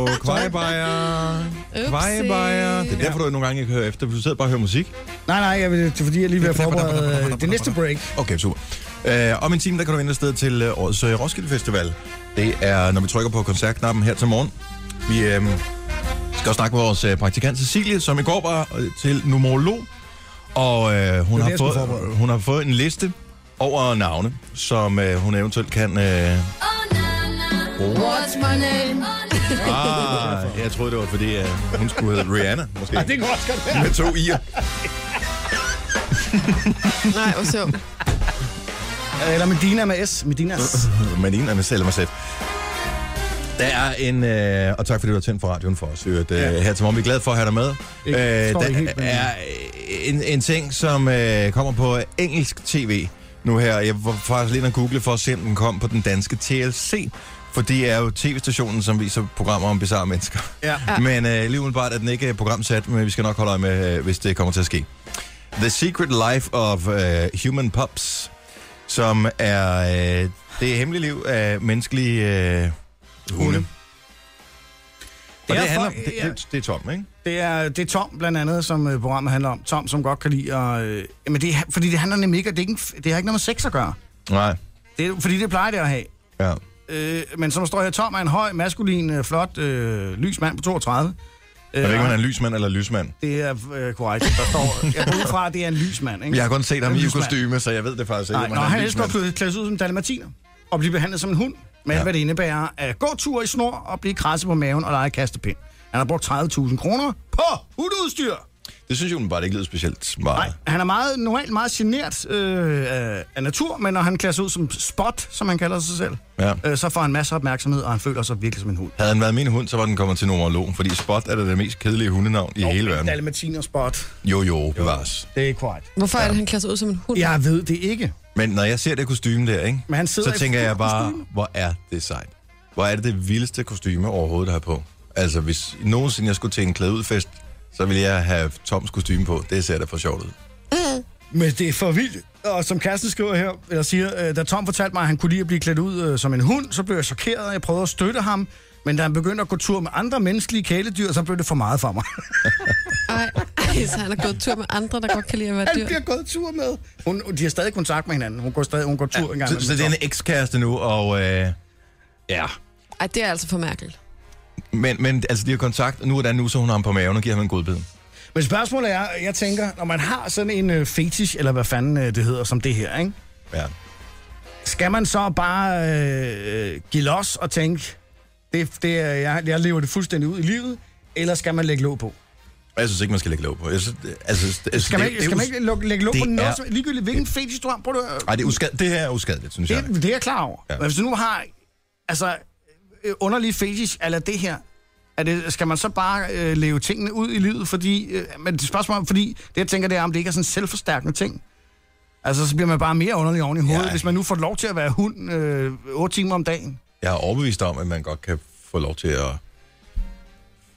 S1: oh, kvejebajer. Kvejebajer. Det er derfor, du nogle gange ikke hører efter, for du sidder bare og hører musik.
S2: Nej, nej, jeg vil, det er fordi, jeg lige vil forberede øh, det næste break.
S1: Okay, super. Uh, om en time, der kan du vinde afsted til uh, årets uh, Roskilde Festival. Det er, når vi trykker på koncertknappen her til morgen. Vi uh, skal også snakke med vores uh, praktikant Cecilie, som i går var uh, til numerolog. Og uh, hun, har
S2: jeg skulle
S1: fået,
S2: forberede.
S1: hun har fået en liste over navne, som uh, hun eventuelt kan... Uh, bruge.
S4: What's my name?
S1: ah, jeg troede, det var fordi, uh, hun skulle hedde Rihanna, måske.
S2: Det kunne også godt være.
S1: Med to i'er.
S3: Nej, hvor sjovt.
S2: Eller Medina med S. Medinas.
S1: Men en af mig selv mig selv. Der er en, øh, og tak fordi du har tændt for radioen for os, i øvrigt, øh, ja.
S2: Ja.
S1: her til morgen. Vi er glade for at have dig med. Øh,
S2: Ikke- står
S1: der
S2: ikke helt, men-
S1: er en, en ting, som øh, kommer på engelsk tv nu her. Jeg var faktisk lige inde og google for at se, om den kom på den danske TLC, for det er jo tv-stationen, som viser programmer om bizarre mennesker.
S2: Ja.
S1: Men øh, lige umiddelbart er den ikke øh, programsat, men vi skal nok holde øje med, øh, hvis det kommer til at ske. The Secret Life of øh, Human Pups, som er øh, det hemmelige liv af menneskelige øh, hunde. Og det,
S2: Det er
S1: handler,
S2: for-
S1: det,
S2: ja.
S1: det, det er Tom, ikke?
S2: Det er, det er Tom blandt andet, som øh, programmet handler om. Tom, som godt kan lide at... Øh, jamen det, er- fordi det handler nemlig ikke... Det, er ikke en f- det har ikke noget med sex at gøre.
S1: Nej.
S2: Det er, fordi det plejer det at have.
S1: Ja.
S2: Øh, men som der står her, Tom er en høj, maskulin, øh, flot, øh, lys mand på 32. Øh,
S1: Jeg ved ikke, om han er en lysmand eller lysmand.
S2: Det er øh, korrekt. Der står... Jeg går ud fra, at det er en lysmand, ikke?
S1: Jeg har kun set ham
S2: En
S1: i
S2: lysmand.
S1: kostyme, så jeg ved det faktisk ikke.
S2: Nej,
S1: om
S2: nå,
S1: er en
S2: han elsker at
S1: lysmand.
S2: klæde- klæde sig ud som dalmatiner og blive behandlet som en hund, med
S1: Ja.
S2: ja. hvad det indebærer at gå tur i snor og blive krasset på maven og lege kastepind. Han har brugt 30.000 kroner på hundeudstyr.
S1: Det synes jeg bare ikke lyder specielt smart.
S2: Nej, han er meget, normalt meget genert øh, af af natur, men når han klæder sig ud som spot, som han kalder sig selv,
S1: Ja.
S2: øh, så får han masser af opmærksomhed, og han føler sig virkelig som en hund.
S1: Havde han været min hund, så var den kommet til numerologen, fordi Spot er da det mest kedelige hundenavn i hele verden.
S2: Dalmatiner spot.
S1: Jo, jo, bevares.
S2: Det er korrekt.
S3: Hvorfor er det, han klæder sig ud som en hund?
S2: Jeg ved det ikke.
S1: Men når jeg ser det kostume der, ikke?
S2: Men han sidder
S1: så
S2: i
S1: tænker jeg
S2: fuld
S1: bare,
S2: kostume.
S1: hvor er det sejt. Hvor er det det vildeste kostume overhovedet, der har på. Altså, hvis nogensinde jeg skulle til en klædeudfest, så ville jeg have Toms kostume på. Det ser da for sjovt ud.
S2: Men det er for vildt. Og som Kirsten skriver her, eller siger, øh, da Tom fortalte mig, at han kunne lide at blive klædt ud øh, som en hund, så blev jeg chokeret, og jeg prøvede at støtte ham. Men da han begyndte at gå tur med andre menneskelige kæledyr, så blev det for meget for mig.
S3: Ej, ej, så han har gået tur med andre, der godt kan lide at være
S2: Han
S3: dyr.
S2: bliver gået tur med. Hun, de har stadig kontakt med hinanden. Hun går stadig hun går tur ja, en gang.
S1: Så, så det er en ekskæreste nu, og øh, ja.
S3: Ej, det er altså for mærkeligt.
S1: Men, men altså, de har kontakt, og nu er der nu, så hun har ham på maven og giver ham en godbid.
S2: Men spørgsmålet er, jeg tænker, når man har sådan en øh, fetish, eller hvad fanden øh, det hedder, som det her, ikke?
S1: Ja.
S2: skal man så bare øh, give los og tænke, det, det er, jeg, jeg lever det fuldstændig ud i livet, eller skal man lægge låg på?
S1: Og Jeg synes ikke, man skal lægge låg på. Jeg synes, det- altså, altså,
S2: Skal man,
S1: det-
S2: ikke,
S1: det er
S2: skal man
S1: us-
S2: ikke lukke, lægge låg på
S1: det
S2: noget,
S1: er-
S2: som, ligegyldigt hvilken fetish du har? Prøv at,
S1: Ej, det, er uskad, det her er uskadeligt, synes jeg.
S2: det, det er jeg klar over.
S1: Ja.
S2: Ja. Men hvis du nu har altså, øh, underlige fetish, eller det her, er det, skal man så bare øh, leve tingene ud i livet? Fordi, øh, men det spørgsmål er, fordi det jeg tænker, det er, om det ikke er sådan en selvforstærkende ting. Altså, så bliver man bare mere underlig oven i hovedet,
S1: Ja.
S2: ja. hvis man nu får lov til at være hund øh, 8 timer om dagen.
S1: Jeg er overbevist om, at man godt kan få lov til at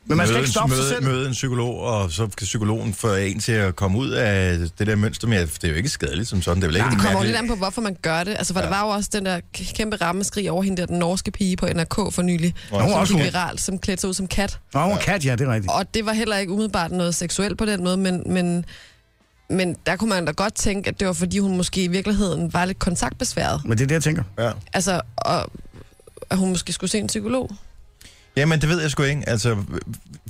S2: Men man skal
S1: møde,
S2: ikke stoppe
S1: møde,
S2: sig selv.
S1: møde en psykolog, og så kan psykologen få en til at komme ud af det der mønster med, at det er jo ikke skadeligt som sådan. Det er vel ikke
S3: Det kommer jo lidt
S1: mærkeligt.
S3: an på, hvorfor man gør det. Altså, for ja. der var jo også den der k- kæmpe rammeskrig over hende der, den norske pige på NRK for nylig.
S1: hun er
S3: som
S2: også
S3: gik
S2: hund.
S3: viral, som klædte sig ud som kat.
S2: Nå, hun er kat, ja, det er rigtigt.
S3: Og det var heller ikke umiddelbart noget seksuelt på den måde, men, men, men der kunne man da godt tænke, at det var fordi, hun måske i virkeligheden var lidt kontaktbesværet.
S2: Men det er det, jeg tænker.
S1: Ja.
S3: Altså, og, at hun måske skulle se en psykolog.
S1: Jamen, det ved jeg sgu ikke. Altså,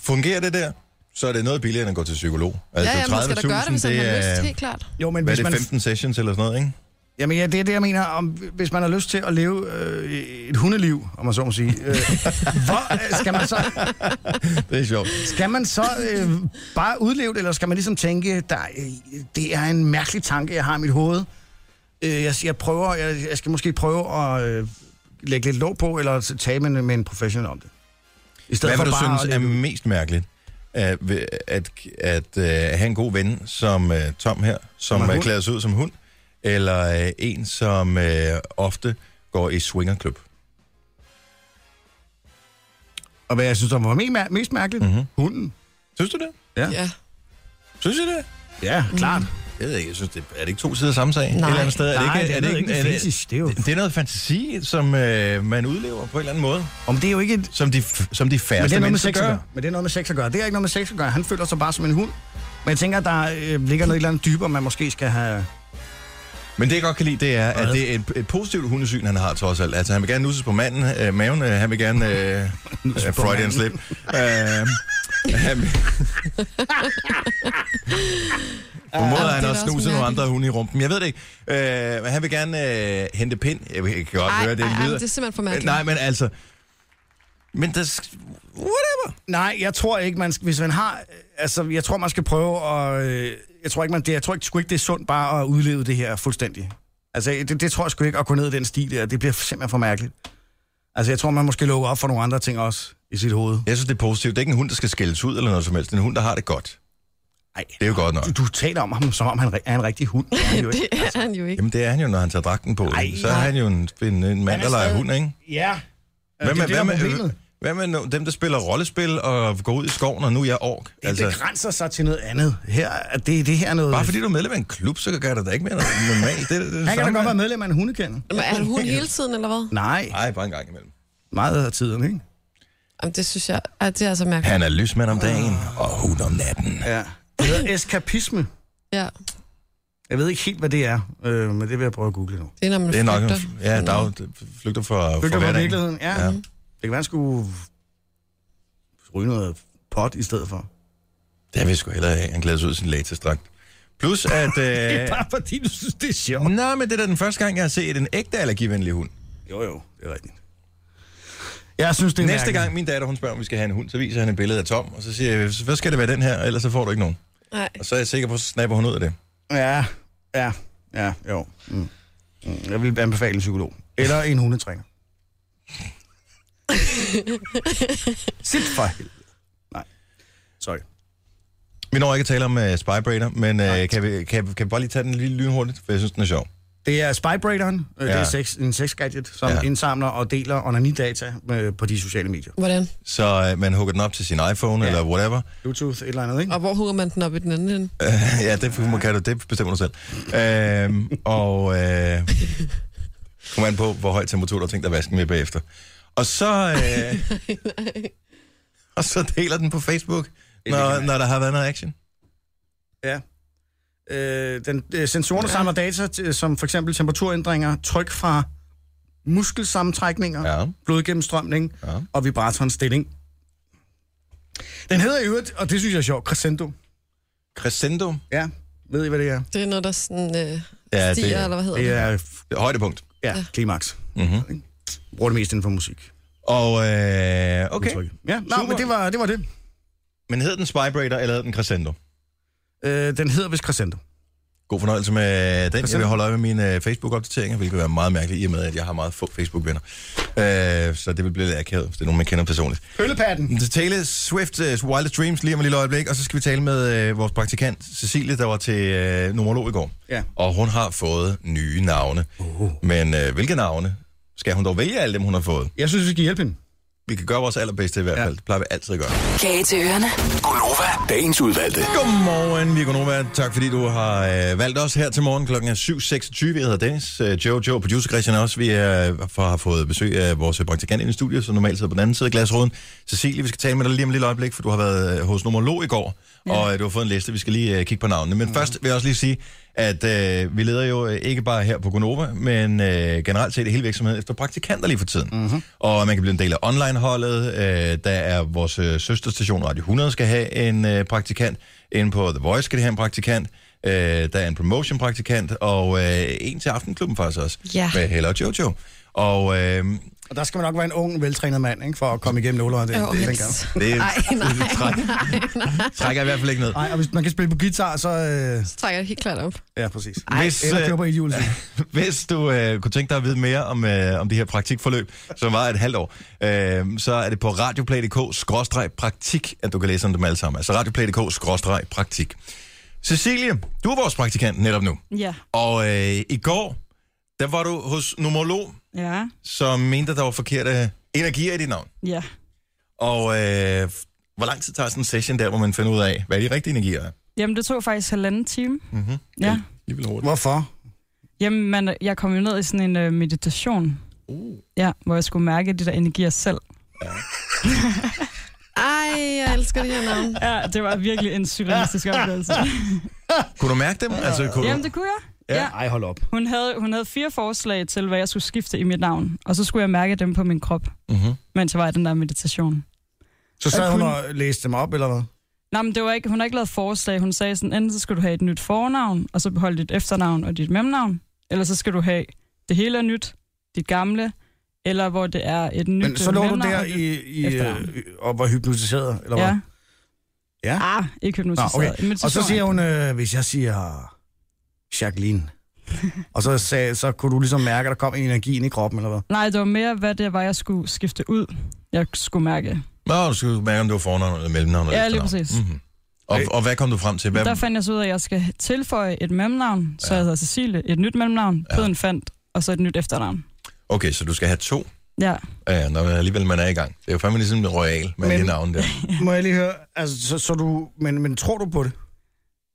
S1: fungerer det der, så er det noget billigere end at gå til psykolog. Altså,
S3: ja, ja, man skal da gøre det,
S1: 30.000,
S3: hvis han har lyst,
S1: er-
S3: helt klart.
S2: Jo, men
S1: Hvad er
S2: hvis
S1: det,
S2: man...
S1: 15 sessions eller sådan noget, ikke?
S2: Jamen, ja, det er det, jeg mener. Om, hvis man har lyst til at leve øh, et hundeliv, om man så må sige, øh, hvor øh, skal man så,
S1: Det er sjovt.
S2: skal man så øh, bare udleve det, eller skal man ligesom tænke, der, øh, det er en mærkelig tanke, jeg har i mit hoved. Øh, jeg, jeg, prøver, jeg, jeg skal måske prøve at øh, lægge lidt låg på, eller tale med, en- med en professionel om det. I stedet
S1: Hvad vil du
S2: bare
S1: synes er
S2: at lægge-
S1: mest mærkeligt? At, ved- at, at, at have en god ven som uh, Tom her, som
S2: Som er
S1: uh,
S2: hund?
S1: klæder sig ud som hund, eller uh, en, som uh, ofte går i swingerklub.
S2: Og hvad jeg synes, der var me- mest mærkeligt?
S1: Mhm.
S2: Mm-hmm. Hunden.
S1: Synes du det?
S2: Ja.
S3: Ja.
S1: Synes du det?
S2: Ja, klart.
S1: Jeg ved ikke, jeg synes, det, Mhm. er det ikke to sider af samme sag?
S3: Nej.
S1: et eller andet sted? Er
S2: Nej, det er
S1: er
S2: noget ikke en
S1: er
S2: fetish, det er jo-
S1: det er noget fantasi, som øh, man udlever på en eller anden måde,
S2: Om det er jo ikke et,
S1: som de, f- som de
S2: Men det er
S1: færreste
S2: noget med
S1: mennesker
S2: sex at
S1: gør.
S2: gøre. Men det er noget med sex at gøre. Det er ikke noget med sex at gøre. Han føler sig bare som en hund. Men jeg tænker, at der øh, ligger noget et eller andet dybere, man måske skal have...
S1: Men det, jeg godt kan lide, det er, at det er et, et positivt hundesyn, han har trods alt. Altså, han vil gerne nusses på manden, øh, maven, øh, han vil gerne... Øh, øh, Freudian slip. Øh, han, på en måde har
S3: det er
S1: han
S3: da
S1: også
S3: også
S1: snuset nogle
S3: mærkeligt.
S1: andre hunde i rumpen. Jeg ved det ikke. Øh, men han vil gerne øh, hente pind. Jeg kan godt
S3: Ej,
S1: høre, det
S3: ej, ej,
S1: lyder...
S3: men det er simpelthen for mærkeligt.
S1: Nej, men altså... Men der... sk- Whatever.
S2: Nej, jeg tror ikke, man skal, hvis man har... øh, Altså, jeg tror, man skal prøve at... Øh, jeg tror ikke, man, det, jeg tror ikke, sgu ikke, det er sundt bare at udleve det her fuldstændig. Altså, det, det tror jeg sgu ikke, at gå ned i den stil der. Det bliver simpelthen for mærkeligt. Altså, jeg tror, man måske lukker op for nogle andre ting også i sit hoved.
S1: Jeg synes, det er positivt. Det er ikke en hund, der skal skældes ud eller noget som helst. Det er en hund, der har det godt.
S2: Nej.
S1: Det er jo godt nok.
S2: Du, du taler om ham, som om han re- er en rigtig hund. Det er han jo ikke.
S3: Det er han jo ikke.
S1: Jamen, det er han jo, når han tager dragten på.
S2: Ej,
S1: så er han jo en, en, en mand,
S2: er
S1: der leger
S2: stadig-
S1: hund, ikke?
S2: Ja.
S1: Hvad med,
S2: det,
S1: hvad,
S2: er det,
S1: med,
S2: der er problemet.
S1: hvad med no- dem, der spiller rollespil og går ud i skoven, og nu er jeg ork?
S2: Det altså, begrænser sig til noget andet. Her, er det, det her er noget...
S1: bare fordi du er medlem af en klub, så gør det da ikke mere noget normalt. Det, er- det, er det
S2: han kan da
S1: samme.
S2: godt være medlem af en hundekende.
S3: Men Er han hun hele tiden, eller hvad?
S2: Nej,
S1: Ej, bare en gang imellem.
S2: meget af tiden, ikke?
S3: Jamen, det synes jeg, ej, det er altså mærkeligt.
S1: Han er lysmand om dagen, og hund om natten.
S2: Ja. Det hedder eskapisme.
S3: Ja,
S2: Jeg ved ikke helt, hvad det er, øh, men det vil jeg prøve at google nu.
S3: det er, når man
S1: Det er nok...
S3: flygter.
S1: Ja, dag, flygter fra, fra
S2: Flygter fra
S1: hverdagen.
S2: virkeligheden, ja.
S1: Ja.
S2: ja. Det kan være, han skulle ryge noget pot i stedet for.
S1: Det vil jeg sgu hellere have. Han glæder sig ud i sin latexdragt. Plus at... Øh...
S2: fordi, du synes, det er sjovt.
S1: Nå, men det er da den første gang, jeg har set en ægte allergivenlig hund.
S2: Jo, jo, det er rigtigt. Jeg synes, det er
S1: Næste
S2: mærkeligt.
S1: gang min datter hun spørger, om vi skal have en hund, så viser han et billede af Tom, og så siger jeg, hvad skal det være den her, ellers så får du ikke nogen.
S3: Nej.
S1: Og så er jeg sikker på, så snapper hun ud af det.
S2: Ja, ja, ja, jo. Mm. Mm, Jeg vil anbefale en psykolog. Eller en hundetræner. Sit for helvede. Nej. Sorry.
S1: Vi når ikke at tale om uh, Spybrainer, men uh, kan, vi, kan, kan vi bare lige tage den lige lynhurtigt, for jeg synes, den er sjov.
S2: Det er Spybraideren. Ja. Det
S1: Ja.
S2: er sex, en sexgadget, som
S1: Ja.
S2: ja. indsamler og deler onanidata øh, på de sociale medier.
S3: Hvordan?
S1: Så uh, man hugger den op til sin iPhone ja. eller whatever.
S2: Bluetooth, et eller andet, ikke?
S3: Og hvor hugger man den op i den anden ende?
S1: ja, det, kan du, det bestemmer du selv. Øhm, og øh, kom an på, hvor høj temperatur du har tænkt dig at vaske med bagefter. Og så, øh, og så deler den på Facebook, når, når der har været noget action.
S2: Ja. Øh, den, øh, sensorerne ja. samler data, til, som for eksempel temperaturændringer, tryk fra muskelsammentrækninger,
S1: Ja.
S2: blodgennemstrømning
S1: Ja.
S2: og vibratorens stilling. Den hedder i øvrigt, og det synes jeg er sjovt, crescendo.
S1: Crescendo.
S2: Ja, ved I, hvad det er?
S3: Det er noget, der sådan, øh,
S1: Ja,
S3: ja,
S1: det-
S3: stiger, det, eller hvad hedder
S2: Det
S3: det?
S2: er
S1: Højdepunkt.
S2: ja, klimaks.
S1: Mhm.
S2: Bruger det mest inden for musik.
S1: Og øh, okay.
S2: Udtryk. Ja, nej,
S1: Super.
S2: men det var det. Var det.
S1: Men hed den Spybrader, eller hed den Crescendo?
S2: Øh, den hedder vist crescendo.
S1: God fornøjelse med den. Jeg vil
S2: Crescendo.
S1: holde øje med mine øh, Facebook-opdateringer, hvilket vil være meget mærkeligt, i og med, at jeg har meget få Facebook-venner. Øh, så det vil blive lidt akavet, hvis det er nogen, man kender personligt.
S2: Øllepatten.
S1: til Taylor Mm. Swift, uh, Wildest Dreams, lige om et lille øjeblik, og så skal vi tale med uh, vores praktikant Cecilie, der var til uh, numerolog i går.
S2: Ja.
S1: Og hun har fået nye navne. Uh. Men uh, hvilke navne? Skal hun dog vælge alle dem, hun har fået?
S2: Jeg synes, vi skal hjælpe hende.
S1: Vi kan gøre vores allerbedste i hvert
S2: Ja.
S1: fald. Det plejer vi altid at gøre.
S5: Kage til ørerne.
S6: Gunova, dagens udvalgte.
S1: Godmorgen, vi er Gunova. Tak fordi du har øh, valgt os her til morgen. Klokken er 7.26. Jeg hedder Dennis, øh, Joe, Joe, producer Christian også. Vi er, for, har fået besøg af vores praktikant ind i studiet, som normalt sidder på den anden side af glasruden. Cecilie, vi skal tale med dig lige om et lille øjeblik, for du har været øh, hos numerolog i går, ja. og øh, du har fået en liste. Vi skal lige øh, kigge på navnene. Men først vil jeg også lige sige, at øh, vi leder jo øh, ikke bare her på Gunova, men øh, generelt set i hele virksomheden efter praktikanter lige for tiden. Mm-hmm. Og man kan blive en del af online-holdet. Øh, der er vores øh, søsterstation Radio 100 skal have en øh, praktikant. Inde på The Voice skal de have en praktikant. Øh, der er en promotion-praktikant, og øh, en til Aftenklubben faktisk også.
S3: Ja.
S1: Med Hella og Jojo. Og øh,
S2: Og der skal man nok være en ung, veltrænet mand, ikke, for at komme igennem nullerne. Det,
S3: Jo,
S2: det,
S3: helst.
S2: tænker jeg.
S1: det
S3: Ej, nej, nej, nej.
S1: trækker jeg i hvert fald ikke ned.
S2: Nej, og hvis man kan spille på guitar, så... Øh...
S3: Så trækker jeg det helt klart op.
S2: Ja, præcis.
S1: Hvis,
S2: Eller
S1: øh,
S2: køber i jul.
S1: Hvis du øh, kunne tænke dig at vide mere om, øh, om de her praktikforløb, som var et halvt år, øh, så er det på radioplay.dk-praktik, at du kan læse om dem alle sammen. Altså radioplay.dk-praktik. Cecilie, du er vores praktikant netop nu.
S7: Ja.
S1: Og øh, i går, der var du hos numerolog,
S7: Ja.
S1: som mente, at der var forkerte energier i dit navn.
S7: Ja.
S1: Og øh, hvor lang tid tager sådan en session der, hvor man finder ud af, hvad de rigtige energier er?
S7: Jamen, det tog faktisk halvanden time.
S1: Mm-hmm.
S7: Ja.
S1: Lige vildt hurtigt.
S2: Hvorfor?
S7: Jamen, man, jeg kom jo ned i sådan en øh, meditation.
S1: Uh.
S7: Ja, hvor jeg skulle mærke de der energier selv.
S3: Ej, jeg elsker det her navn.
S7: Ja, det var virkelig en surrealistisk oplevelse.
S1: Kunne du mærke dem? Altså, kunne
S7: Jamen,
S1: du...
S7: det kunne jeg.
S1: Ja.
S7: Ja.
S2: Ej, hold op.
S7: Hun, havde, hun havde fire forslag til, hvad jeg skulle skifte i mit navn. Og så skulle jeg mærke dem på min krop,
S1: Mm-hmm.
S7: mens jeg var i den der meditation.
S2: Så sad hun
S7: kun-
S2: og læste dem op, eller hvad?
S7: Nej, men det var ikke, hun har ikke lavet forslag. Hun sagde sådan, enten så skal du have et nyt fornavn, og så beholde dit efternavn og dit mellemnavn. Eller så skal du have det hele er nyt, dit gamle, eller hvor det er et nyt øh,
S2: Men så lå du
S7: mellemnavn
S2: der
S7: og dit-
S2: i, i,
S7: efternavn.
S2: øh, og var hypnotiseret, eller hvad?
S7: Ja.
S2: Ja.
S7: Ah, ikke
S2: Nå,
S7: hypnotiseret.
S2: okay.
S7: Meditation.
S2: Og så siger hun, øh, hvis jeg siger Jacqueline, og så, sagde, så kunne du ligesom mærke, at der kom en energi ind i kroppen, eller hvad?
S7: Nej, det var mere, hvad det var, jeg skulle skifte ud. Jeg skulle mærke.
S1: Nå, du skulle mærke, om det var fornavn eller mellemnavn. eller
S7: Ja, lige
S1: efternavn.
S7: præcis.
S1: Mhm. Og, og hvad kom du frem til? Hvad,
S7: Der fandt jeg så ud af, at jeg skal tilføje et mellemnavn, så
S1: Ja.
S7: jeg hedder Cecilie, et nyt mellemnavn,
S1: Ja.
S7: ja. Peden fandt, og så et nyt efternavn.
S1: okay, så du skal have to,
S7: Ja,
S1: ja, når man alligevel man er i gang. Det er jo fandme ligesom en royal med
S2: Men-
S1: det navn der.
S2: Må jeg lige høre, altså, så, så du, men, men tror du på det?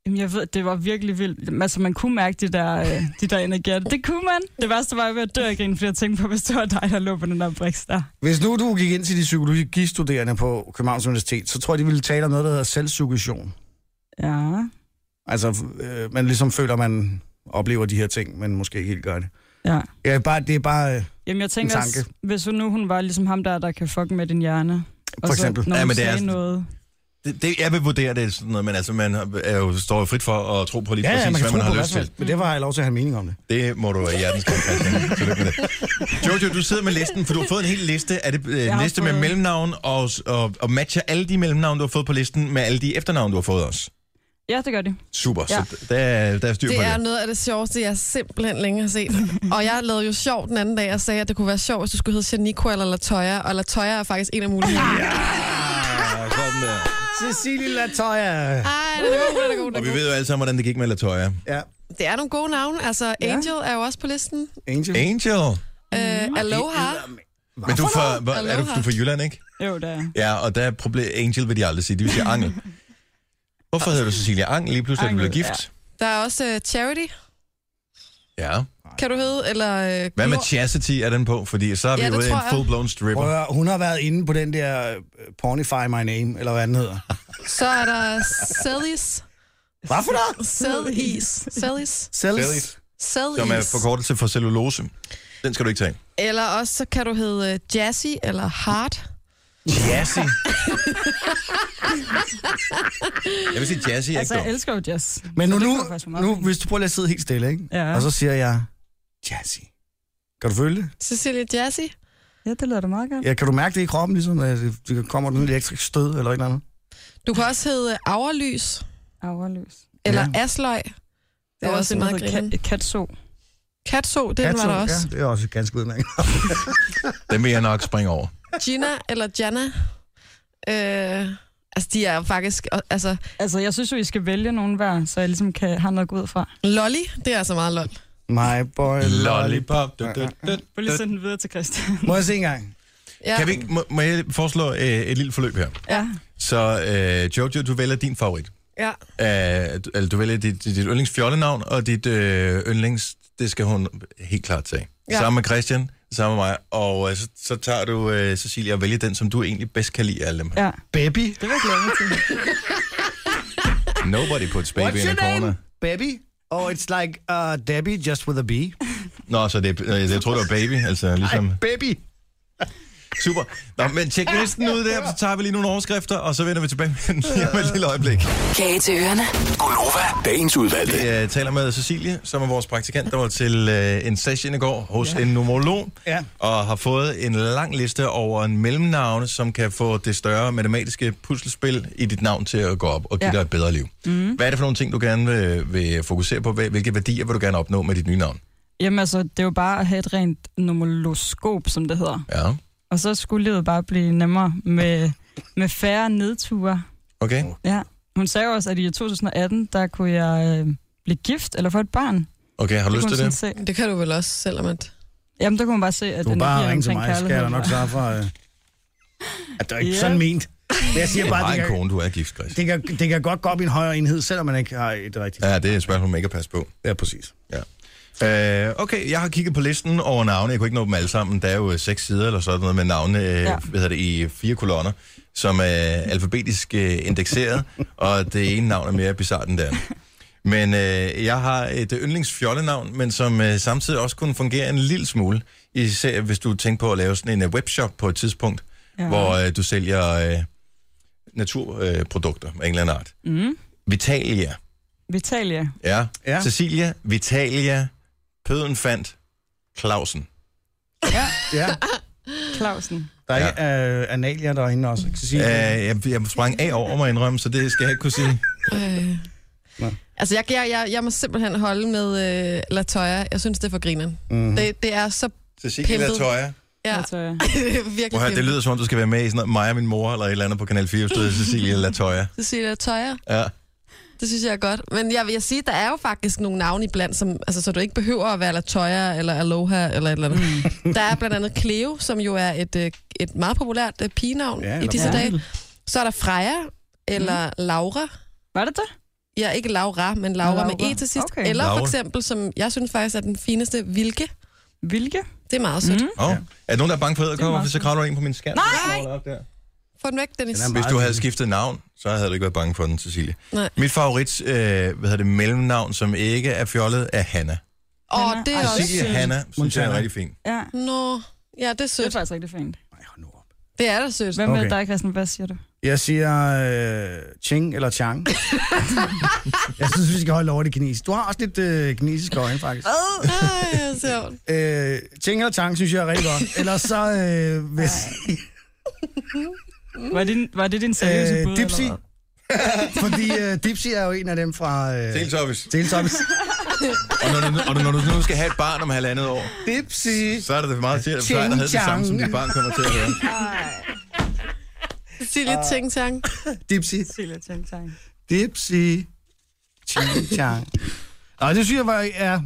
S7: Jamen, jeg ved, det var virkelig vildt. Altså, man kunne mærke de der, øh, de der energier. Det kunne man. Det værste var, at jeg var ved at dø af grin, fordi jeg tænkte på, hvis det var dig, der lå på den der briks der.
S2: Hvis nu du gik ind til de psykologistuderende på Københavns Universitet, så tror jeg, de ville tale om noget, der hedder selvsuggestion.
S7: Ja,
S2: Altså, øh, man ligesom føler, man oplever de her ting, men måske ikke helt gør det.
S7: ja.
S2: Ja, bare, det er bare, øh,
S7: Jamen, jeg tænker,
S2: En
S7: også,
S2: tanke.
S7: hvis hun nu hun var ligesom ham der, der kan fuck med din hjerne.
S2: For eksempel.
S7: Så, når
S1: Ja,
S7: ja,
S1: men
S7: men
S1: det er
S7: sagde
S1: sådan-
S7: noget.
S1: Det, det, jeg vil vurdere det er sådan noget, men altså, man er jo, står jo frit for at tro på lige
S2: ja,
S1: præcis,
S2: ja, man
S1: hvad
S2: kan tro
S1: man
S2: på
S1: har
S2: hvad
S1: lyst
S2: som
S1: til.
S2: helst, men det var jeg lov til at have en mening om det.
S1: Det må du øh, i hjertens komme fast. Tillykke med det. Jojo, du sidder med listen, for du har fået en hel liste. Er det øh,
S7: har
S1: liste med
S7: fået-
S1: mellemnavn, og, og, og matcher alle de mellemnavn, du har fået på listen, med alle de efternavn, du har fået også?
S7: Ja, det gør de.
S1: Super, ja.
S7: Ja.
S1: så der, er- der er styr på
S3: Det er
S1: det.
S3: noget af det sjoveste, jeg simpelthen længe har set. Og jeg lavede jo sjov den anden dag, og sagde, at det kunne være sjovt, hvis du skulle hedde Janico eller Latoya. Og Latoya er faktisk en af mulighederne. Ja.
S1: Ah, sådan der.
S2: Cecilie Latoya.
S3: Ej, det er god, den er god, den
S1: Og vi
S3: er god.
S1: ved jo alle sammen, hvordan det gik med Latoya.
S3: Mm.
S2: Ja,
S3: Det er nogle gode navne. Altså, Angel er jo også på listen.
S2: Angel.
S1: Angel.
S3: Øh, Aloha.
S1: Men du er fra, hvor, er du,
S3: Aloha.
S1: du er fra Jylland, ikke?
S7: Jo, det er jeg.
S1: Ja, og der er problem. Angel vil de aldrig sige. De vil sige Angel. Hvorfor hedder du Cecilia Angel lige pludselig, da du blev
S7: Angel,
S1: gift?
S3: Der er også øh, Charity,
S1: Ja.
S3: kan du hedde. Eller, øh,
S1: Hvad med
S3: Glor.
S1: Chastity er den på? Fordi så er vi
S3: Ja,
S1: ja,
S3: det
S1: ude i en
S3: tror jeg.
S1: full-blown
S2: Prøv
S1: stripper.
S2: at høre, hun har været inde på den der øh, Pornify My Name, eller hvad den hedder.
S3: Så er der Cellis.
S2: Hvad for noget?
S3: Cellis. Cellis.
S1: Cellis.
S2: Cellis.
S1: Som er
S3: Cellis.
S1: forkortelse for cellulose. Den skal du ikke tage.
S3: Eller også så kan du hedde øh, Jazzy eller Hart.
S1: Jazzy. jeg vil sige Jazzy, er ikke
S7: Altså, jeg
S1: dum.
S7: elsker jo jazz.
S2: Men nu,
S7: Så det
S2: nu,
S7: kommer faktisk for meget
S2: nu,
S7: fint.
S2: hvis du prøver lige at sidde helt stille, ikke?
S7: Ja.
S2: Og så siger jeg, Jazzy. Kan du føle det?
S3: Cecilia Jazzy.
S7: Ja, det lyder da meget godt.
S2: Ja, kan du mærke det i kroppen, ligesom? at Det kommer den elektrisk stød eller et eller andet.
S3: Du kan også hedde Aurelys
S7: Aureløs.
S3: eller
S2: Ja.
S3: ja. Asløg.
S7: Der
S3: Det er også
S7: en, der
S3: meget
S7: hedder
S3: grineren.
S7: Kat- Katso.
S3: Katso, den var
S2: Katso,
S3: der også.
S2: Ja, det er også ganske udmærket.
S1: Den vil jeg nok springe over.
S3: Gina eller Jana. Øh, altså, de er jo faktisk... og- Altså,
S7: Altså, jeg synes jo, I skal vælge nogen hver, så jeg ligesom kan have noget at gå ud fra.
S3: Lolly, det er altså meget lol.
S2: My boy lollipop.
S1: Lollipop. Du, du, du.
S7: Prøv lige at sende den videre til Christian.
S2: Må jeg se en gang?
S3: Ja.
S1: Kan vi, ikke- må, må jeg foreslå øh, et lille forløb her?
S7: Ja.
S1: Så øh, Jojo, du vælger din favorit.
S3: Ja.
S1: Øh, du- eller du vælger dit, dit, dit yndlings fjollenavn, og dit øh, yndlings, det skal hun helt klart tage. Ja.
S3: Ja.
S1: Sammen med Christian, sammen med mig, og øh, så, så tager du, øh, Cecilia, og vælger den, som du egentlig bedst kan lide af alle dem her.
S7: Ja,
S2: Baby.
S7: det vil jeg glæde mig til.
S1: Nobody puts baby in a corner.
S2: Baby? Oh, it's like uh, Debbie, just with a B.
S1: Nå, så det, øh, jeg tror, det var baby, altså ligesom... Ej.
S2: Baby.
S1: Super. Nå, men tjek listen ud der, så tager vi lige nogle overskrifter, og så vender vi tilbage med den lige om et lille øjeblik.
S5: Kage til ørerne.
S6: Gunova, dagens udvalgte.
S1: Vi øh, taler med Cecilie, som er vores praktikant, der var til øh, en session i går hos ja. en numerolog,
S2: Ja.
S1: og har fået en lang liste over en mellemnavne, som kan få det større matematiske puslespil i dit navn til at gå op og give ja.
S7: Ja.
S1: dig et bedre liv. Mm. Hvad er det for nogle ting, du gerne vil, vil fokusere på? Hvad- Hvilke værdier vil du gerne opnå med dit nye navn?
S7: Jamen altså, det er jo bare at have et rent nomoloskop, som det hedder.
S1: Ja,
S7: Og så skulle livet bare blive nemmere med, med færre nedture.
S1: okay.
S7: Ja. Hun sagde jo også, at i 2018, der kunne jeg øh, blive gift eller få et barn.
S1: Okay, har du lyst
S7: kunne
S1: til
S7: hun
S1: det?
S7: sådan Se.
S3: Det kan du vel også, selvom at...
S7: Jamen, der kunne hun bare se, at
S2: Du kan bare
S7: energien
S2: ringe til
S7: omkring
S2: mig, skal jeg da
S7: kærligheden
S2: nok
S7: var-
S2: sørge for... Øh... At det er ikke
S7: Ja.
S2: sådan ment. Men jeg siger
S1: Det er
S2: bare,
S1: bare
S2: det
S1: en
S2: kan,
S1: kone, du er gift, Chris.
S2: det, kan, det kan godt gå op i en højere enhed, selvom man ikke har et rigtigt...
S1: Ja, det er et spørgsmål, man ikke kan passe på.
S2: Ja, præcis.
S1: Ja. Øh, okay, jeg har kigget på listen over navne. Jeg kunne ikke nå dem alle sammen. Der er jo øh, seks sider eller sådan noget med navne øh, ja.
S7: Ja.
S1: hvad hedder det, i fire kolonner, som er alfabetisk øh, indekseret, og det ene navn er mere bizarrt end det andet. Men øh, jeg har et yndlingsfjollenavn, men som øh, samtidig også kunne fungere en lille smule, især hvis du tænker på at lave sådan en øh, webshop på et tidspunkt, ja.
S7: Ja.
S1: hvor øh, du sælger øh, naturprodukter øh, af en eller anden art. Mm. Vitalia.
S7: Vitalia.
S1: Ja. ja.
S2: Ja.
S1: Cecilia, Vitalia, Pøden fandt, Clausen.
S2: Ja,
S7: Clausen.
S2: der er ja. øh, analia derinde også. Ikke?
S1: Øh,
S2: Cecilie.
S1: jeg, jeg sprang af over mig indrømme, så det skal jeg ikke kunne sige.
S3: Øh. Altså, jeg, jeg, jeg, jeg må simpelthen holde med øh, Latoya. Jeg synes, det er for grineren.
S1: Mhm.
S3: Mm. Det, det er så...
S1: Cecilia
S3: Pimpet.
S1: Latoya.
S3: Ja,
S7: Altså,
S3: det er virkelig
S1: Prøv at høre, det
S3: pimpet.
S1: lyder som om, du skal være med i sådan noget, mig og min mor, eller et eller andet på Kanal 4, hvis du hedder Cecilia Latoya.
S3: Cecilia Latoya.
S1: Ja.
S3: Det synes jeg er godt. Men jeg vil jeg sige, der er jo faktisk nogle navne iblandt, som, altså, så du ikke behøver at være Latoya eller Aloha eller et eller andet.
S7: hmm.
S3: Mm. Der er blandt andet Cleo, som jo er et, øh, et meget populært øh, pigenavn
S2: Ja,
S3: ja, i
S2: eller
S3: disse
S2: Brunhilde.
S3: dage. Så er der Freja eller mm. Laura.
S7: var det det?
S3: Ja, ikke Laura, men Laura,
S7: Laura.
S3: Laura. med E til sidst.
S7: Okay.
S3: Okay. Eller
S1: Laura.
S3: for eksempel, som jeg synes faktisk er den fineste, Vilke.
S7: Hvilke?
S3: Det er meget sødt. Mm.
S1: Oh. Er der nogen, der er bange for æderkopper,
S7: meget
S1: hvis så kravler du ind på min skærm? Nej!
S3: Få den væk, Dennis.
S2: Den er
S1: Hvis du havde skiftet navn, så havde du ikke været bange for den, Cecilie.
S3: Nej.
S1: Mit favorit, øh, hvad hedder det, mellemnavn, som ikke er fjollet, er Hanna.
S3: Åh,
S7: Hanna.
S3: det er
S7: Ej,
S3: også...
S1: Cecilie Hanna, synes jeg er
S2: Montana.
S1: rigtig fint.
S7: Ja,
S3: Nå, ja, det er
S7: det er
S3: sødt.
S7: faktisk rigtig fint.
S2: Nej, hold nu op.
S3: Det er da sødt.
S7: Hvad med
S2: Okay.
S7: dig, Christian? Hvad siger du?
S2: Jeg siger øh, Ching eller Chang. jeg synes, vi skal holde over det kinesisk. Du har også lidt øh, kinesisk øjne, faktisk.
S3: Ej, hvor sjovt.
S2: Øh, Ching eller Chang synes jeg er rigtig godt. Ellers så... Øh, hvis,
S7: Var det, var det din seriøse bud?
S2: øh, Dipsy.
S7: eller hvad?
S2: Fordi øh, Dipsy er jo en af dem fra... Øh,
S1: Teleservice.
S2: Teleservice.
S1: Og når, du, og når du nu skal have et barn om halvandet år,
S2: Dipsy.
S1: så er det meget til, at du plejer at have det samme, som dit barn kommer til at høre.
S3: Cecilie Ting Tang.
S2: Dipsy.
S7: Silja Tang Tang.
S2: Dipsy. Ching chang. Nå, det synes jeg var... Ja,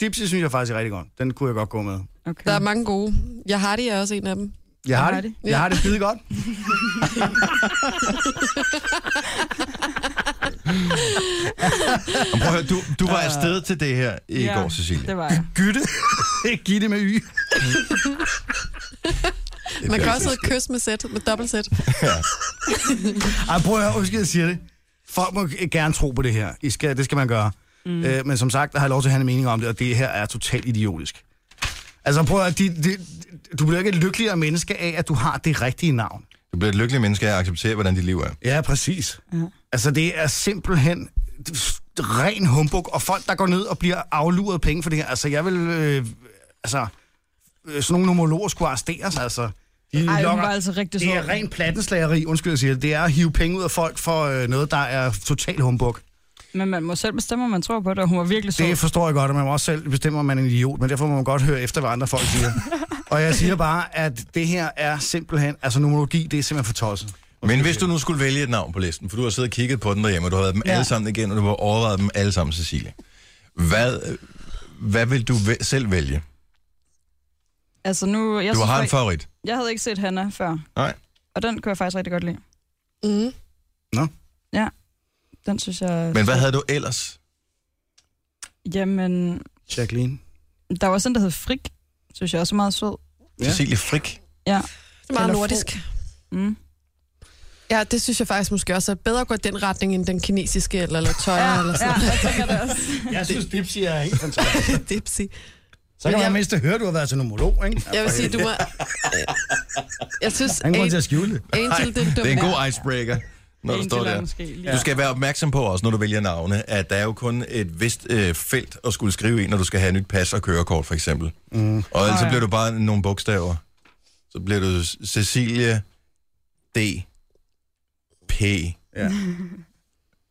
S2: Dipsy synes jeg faktisk er rigtig godt. Den kunne jeg godt gå med.
S7: Okay.
S3: Der er mange gode. Jeg har det, er også en af dem.
S2: Jeg har
S7: har
S2: det.
S7: det.
S2: Jeg har det skide godt.
S1: Men Prøv at høre, du, du var afsted til det her i går, Cecilie.
S7: det var jeg.
S2: Gytte. Gitte med Y.
S3: Man kan også hedde kys med sæt, med dobbelt sæt.
S2: Ej, prøv at høre, undskyld, jeg siger det. Folk må gerne tro på det her. I skal, det skal man gøre. Mm. Øh, men som sagt, der har jeg lov til at have en mening om det, og det her er totalt idiotisk. Altså prøv at høre, de, de, du bliver ikke et lykkeligere menneske af, at du har det rigtige navn.
S1: Du bliver et lykkeligt menneske af at acceptere, hvordan dit liv er.
S2: Ja, præcis. Mm. Altså det er simpelthen ren humbug, og folk, der går ned og bliver afluret penge for det her. Altså jeg vil... Øh, altså, øh, sådan nogle nomologer skulle arresteres, altså. De
S7: Ej, hun
S2: lokker-
S7: var altså rigtig
S2: Det er
S7: sort.
S2: ren plattenslageri, undskyld jeg siger det. Det er at hive penge ud af folk for øh, noget, der er total humbug.
S7: Men man må selv bestemme, om man tror på det, og hun var virkelig sød.
S2: Det forstår jeg godt, og man må også selv bestemme, om man er en idiot, men derfor må man godt høre efter, hvad andre folk siger. og jeg siger bare, at det her er simpelthen, altså numerologi, det er simpelthen for tosset.
S1: Men hvis du nu skulle vælge et navn på listen, for du har siddet og kigget på den derhjemme, og du har været dem ja. alle sammen igen, og du har overvejet dem alle sammen, Cecilie. Hvad, hvad vil du væ- selv vælge?
S7: Altså nu, jeg,
S1: Du
S7: synes,
S1: har en
S7: jeg-
S1: favorit.
S7: jeg havde ikke set Hanna før,
S1: Nej.
S7: og den kunne jeg faktisk rigtig godt lide.
S3: Mm.
S7: Ja, den synes jeg...
S1: Men hvad havde du ellers?
S7: Jamen,
S2: Jacqueline.
S7: der var også en, der hed Frik, synes jeg også er meget sød.
S1: Ja. Cecilie Frik.
S7: Ja.
S3: Det er meget
S7: Eller
S3: nordisk.
S7: Mm.
S3: Ja, det synes jeg faktisk måske også er bedre at gå i den retning, end den kinesiske eller, eller tøj
S7: Ja,
S3: ja, eller
S7: ja,
S3: sådan
S7: jeg tænker det også.
S2: Jeg synes, Dipsy er helt fantastisk.
S3: noget. Dipsy.
S2: Så kan
S3: Men
S2: man
S3: jeg-
S2: mindst høre, at du har været til numerolog, ikke?
S3: Jeg vil sige, du må... Jeg synes,
S2: Han går til at
S3: An-
S2: skjule det.
S3: Angel, det er en dum
S1: Det er en
S3: mand.
S1: god icebreaker, når du
S7: En
S1: står
S7: til er
S1: der.
S7: måske lige-
S1: Du skal være opmærksom på også, når du vælger navne, at der er jo kun et vist øh, felt at skulle skrive i, når du skal have nyt pas og kørekort, for eksempel. Mm. Og ellers så
S7: ja.
S1: bliver du bare nogle bogstaver. Så bliver du C- Cecilie D. P.
S2: Ja.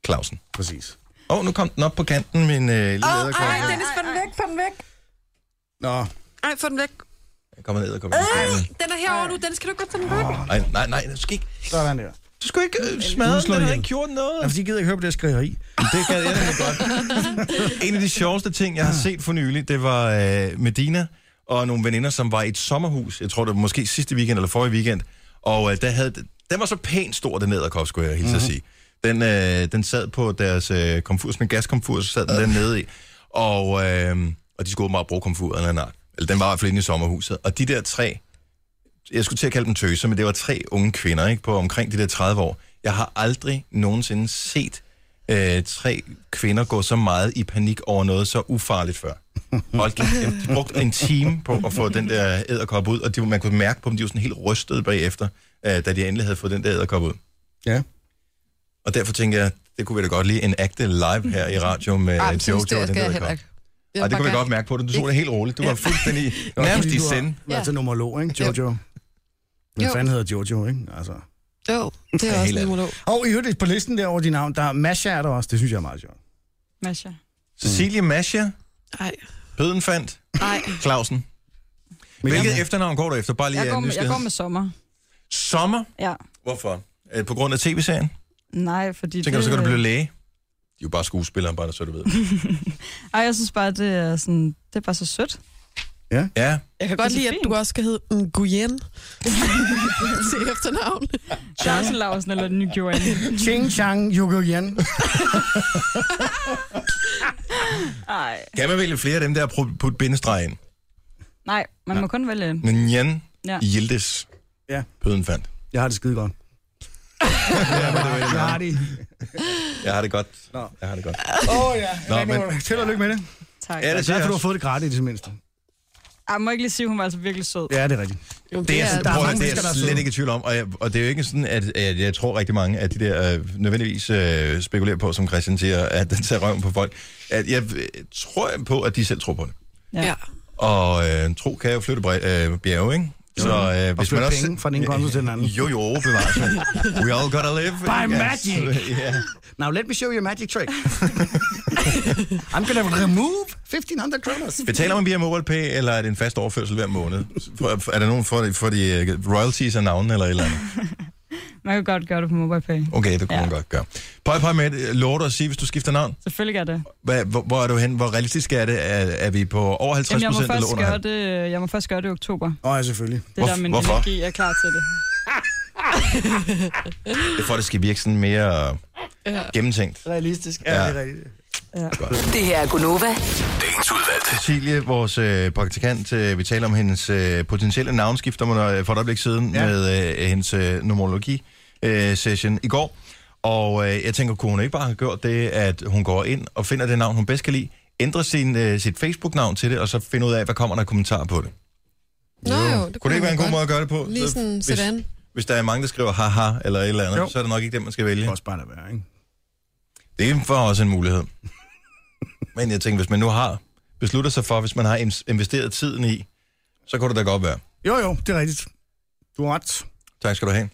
S1: Clausen.
S2: Præcis.
S1: Åh, oh, nu kom den op på kanten, min øh, lille oh,
S3: Ej,
S1: æderkop.
S3: Dennis, få den væk, få den væk.
S2: Nå,
S3: Ej, få den væk.
S1: Jeg kommer ned og kommer øh.
S3: Den er herovre nu, den skal du ikke få den væk.
S1: Nej, nej, nej, du skal ikke,
S2: sådan der.
S1: du skal ikke øh, smadre den,
S2: slår
S1: den har
S2: ihjel.
S1: ikke gjort noget.
S2: Ja, fordi de gider ikke høre på det skrigeri.
S1: Det kan jeg nemlig godt. En af de sjoveste ting, jeg har set for nylig, det var øh, Medina og nogle veninder, som var i et sommerhus. Jeg tror, det var måske sidste weekend eller forrige weekend. Og øh, der havde, den var så pænt stor, den æderkop, skulle jeg hilse at sige. Den, øh, den sad på deres øh, komfur, sådan en gaskomfur, så sad den der nede i. Og, øh, og de skulle åbenbart bruge komfuren eller nej. Eller den var i hvert fald inde i sommerhuset. Og de der tre, jeg skulle til at kalde dem tøser, men det var tre unge kvinder ikke, på omkring de der 30 år. Jeg har aldrig nogensinde set øh, tre kvinder gå så meget i panik over noget så ufarligt før. Hold kæft, jamen, de brugte en time på at få den der æderkop ud, og de, man kunne mærke på dem, de var sådan helt rystede bagefter, øh, da de endelig havde fået den der æderkop ud.
S2: Ja.
S1: Og derfor tænker jeg, det kunne vi da godt lide en ægte live her i radio med
S3: Ej,
S1: Ej,
S3: men
S1: Jojo
S3: synes
S1: og
S3: det,
S1: den
S3: jeg skal jeg heller
S1: æderkop.
S3: ikke.
S1: Ej, det kunne vi godt mærke på dig. Du så det helt roligt. Du var fuldstændig i-
S2: Det var Mm. også
S1: nærmest
S2: fordi,
S1: i
S2: du har
S1: send.
S2: været
S3: Ja.
S2: til numerolog, ikke, Jojo? Hvem
S3: Jo.
S2: fanden hedder Jojo, ikke? Altså.
S3: Jo, det er også
S1: helt
S3: en
S1: ærligt.
S3: monolog.
S2: Og i øvrigt på listen der over de navn, der er Masha er der også. Det synes jeg er meget sjovt.
S7: Masha.
S1: Cecilie Mascha,
S3: Ej,
S1: Pødenfandt,
S3: ej.
S1: Clausen. Hvilket efternavn går du efter? Bare lige
S7: Jeg
S1: af
S7: går, med, jeg
S1: nysgerrighed.
S7: går med sommer.
S1: Sommer.
S7: Ja.
S1: Hvorfor? Øh, På grund af tv-serien?
S7: Nej, fordi
S1: Tænker du, så kan du
S7: øh,
S1: blive læge? De er jo bare skuespillere, bare så du ved.
S7: Ej, jeg synes bare, det er, sådan, det er bare så sødt.
S1: Ja,
S3: Jeg kan godt
S7: Det er
S3: lide, at
S7: fint.
S3: du også skal hedde Nguyen. til efternavn.
S7: Charles Lausen eller New Joanne.
S2: Ching Chang Yugo Yan.
S7: Ej.
S1: kan man vælge flere af dem der og pro- putte bindestreg ind?
S7: Nej, man må kun vælge en.
S1: Men Jan
S7: Ja.
S1: Hjeltes
S2: Ja.
S1: Pødenfandt.
S2: Jeg har det skide godt. Jeg har det.
S1: Jeg har det godt. Jeg har det godt.
S2: Åh oh, ja.
S1: Nå,
S2: Nå, men...
S1: men-
S2: Til og lykke med det.
S7: Tak.
S1: Ja, det
S2: Tak,
S1: siger
S2: for du har
S1: jeg.
S2: fået det gratis i det mindste.
S7: Ej, må jeg ikke lige sige, hun var altså virkelig sød.
S2: Ja, det er rigtigt.
S1: Det er,
S3: Ja,
S1: jeg,
S2: der
S1: prøv,
S2: er
S1: at høre,
S2: mange
S1: det er
S2: mennesker, der er
S1: jeg
S2: søde.
S1: slet ikke i tvivl om, og, jeg, og det er jo ikke sådan, at, at jeg tror rigtig mange af de der øh, nødvendigvis øh, spekulerer på, som Christian siger, at den tager røven på folk. At jeg øh, tror på, at de selv tror på det.
S3: Ja.
S1: Og øh, tro kan jo flytte bre- øh, bjerge, ikke? Så øh, hvis man
S2: flytte
S1: også...
S2: penge fra den ene konto til den anden.
S1: Jo, jo, bevares. We all gotta live.
S2: By magic.
S1: Yeah.
S2: Now let me show you a magic trick. I'm gonna remove 1.500 kroners.
S1: Betaler man via MobilePay, eller er det en fast overførsel hver måned? For- Er der nogen for, for de øh, royalties af navnene eller et eller andet?
S7: Man kan godt gøre det på MobilePay.
S1: Okay, det kunne ja.
S7: Ja.
S1: man godt gøre. Pøj, pøj med det. Lover du at sige, hvis du skifter navn?
S7: Selvfølgelig gør det.
S1: Hvad, hvor, hvor, er du hen? Hvor realistisk er det? Er, er vi på over 50
S7: Jamen, jeg, må
S1: procent eller
S7: først
S1: under?
S7: gøre
S1: halv-
S7: det, øh, jeg må først gøre det i oktober.
S2: Åh, oh, ja, selvfølgelig.
S7: Det er der,
S1: Hvorf-
S7: min
S1: hvorfor?
S7: energi er klar til det.
S1: Det er for, at det skal virke sådan mere ja. gennemtænkt.
S2: Realistisk.
S1: Ja.
S2: Ja, det er rigtigt.
S5: Det her er Gunova.
S6: Dagens udvalgte.
S1: Cecilie, vores øh, praktikant, øh, vi taler om hendes øh, potentielle navnskifter øh, for et øjeblik siden ja.
S2: Ja.
S1: med øh, hendes øh, numerologi-session i går. Og øh, jeg tænker, kunne hun ikke bare have gjort det, at hun går ind og finder det navn, hun bedst kan lide, ændrer sin, øh, sit Facebook-navn til det, og så finder ud af, hvad kommer der af kommentarer på det?
S3: Nå jo, det
S1: Kunne det ikke være en god
S3: man
S1: måde
S3: godt.
S1: at gøre det på?
S3: Lige
S1: Så
S3: sådan,
S1: hvis,
S3: sådan.
S1: Hvis der er mange, der skriver haha eller et eller andet, jo.
S2: Jo.
S1: så er det nok ikke det, man skal vælge.
S2: Det kan også bare lade være, ikke?
S1: Det er for også en mulighed. Men jeg tænker, hvis man nu har besluttet sig for, hvis man har ins- investeret tiden i, så kunne det da godt være.
S2: Jo, jo, det er rigtigt. Du har ret.
S1: Tak skal du have.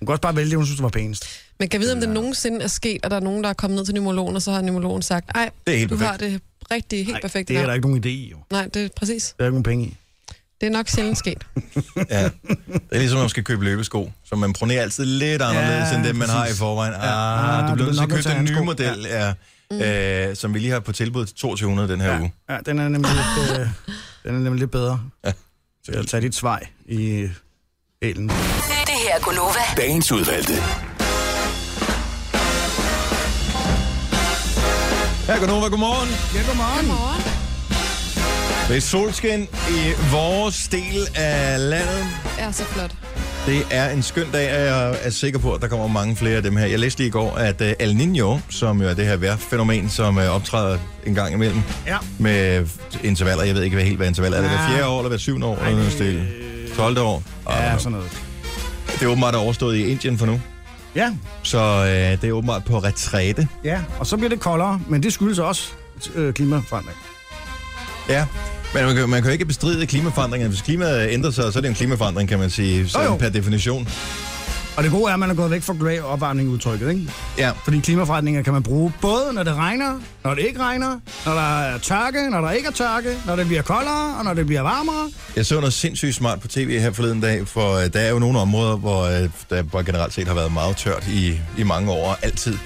S2: Hun kan også bare vælge det, hun synes, det var pænest.
S3: Man kan vide, om det nogensinde er sket, at der er nogen, der er kommet ned til pneumologen, og så har pneumologen sagt, nej,
S1: Det er helt
S3: du
S1: perfekt.
S3: har det rigtig helt perfekt.
S2: det er der ikke nogen idé i, jo.
S3: Nej, det er præcis.
S2: Der er ikke nogen penge i.
S3: Det er nok sjældent sket.
S1: Ja. Det er ligesom, når man skal købe løbesko, så man pronerer altid lidt anderledes, ja, end dem, man har i
S2: præcis.
S1: forvejen.
S2: Ja.
S1: Ah,
S2: Ah,
S1: du
S2: du
S1: bliver
S2: bliver
S1: nødt til at
S2: nok nødt til
S1: købe
S2: at
S1: den nye
S2: have en sko.
S1: model, ja.
S3: Mm.
S1: øh, som vi lige har på tilbud til 2200 den her uge.
S2: Ja, den er nemlig lidt, øh, den er nemlig lidt bedre. Ja. Til at tage dit svej i elen.
S5: Det her er Gunova.
S6: Dagens udvalgte.
S1: Her går Nova, godmorgen.
S2: Ja, godmorgen.
S3: Godmorgen.
S1: Det er solskin i vores del af landet.
S3: Ja, så flot.
S1: Det er en skøn dag, og jeg er sikker på, at der kommer mange flere af dem her. Jeg læste lige i går, at øh, El Niño, som jo er det her vejrfænomen, som øh, optræder en gang imellem
S2: Ja.
S1: med intervaller. Jeg ved ikke hvad helt, hvad intervaller er. Er det hver
S2: Nej.
S1: fjerde år, eller hver syvende år? eller noget stil? 12. år?
S2: øh, Ja, sådan noget.
S1: Det er åbenbart overstået i Indien for nu.
S2: Ja,
S1: Så øh, det er åbenbart på retræte.
S2: ja. Og så bliver det koldere, men det skyldes også øh, klimaforandring.
S1: Ja, men man kan, man kan jo ikke bestride klimaforandringerne. Hvis klimaet ændrer sig, så er det en klimaforandring, kan man sige, sådan
S2: Jo, jo.
S1: per definition.
S2: Og det gode er, at man er gået væk fra global opvarmning udtrykket, ikke?
S1: Ja,
S2: Fordi klimaforandringer kan man bruge både, når det regner, når det ikke regner, når der er tørke, når der ikke er tørke, når det bliver koldere, og når det bliver varmere.
S1: Jeg så noget sindssygt smart på tv her forleden dag, for øh, der er jo nogle områder, hvor øh, der bare generelt set har været meget tørt i, i mange år, og altid.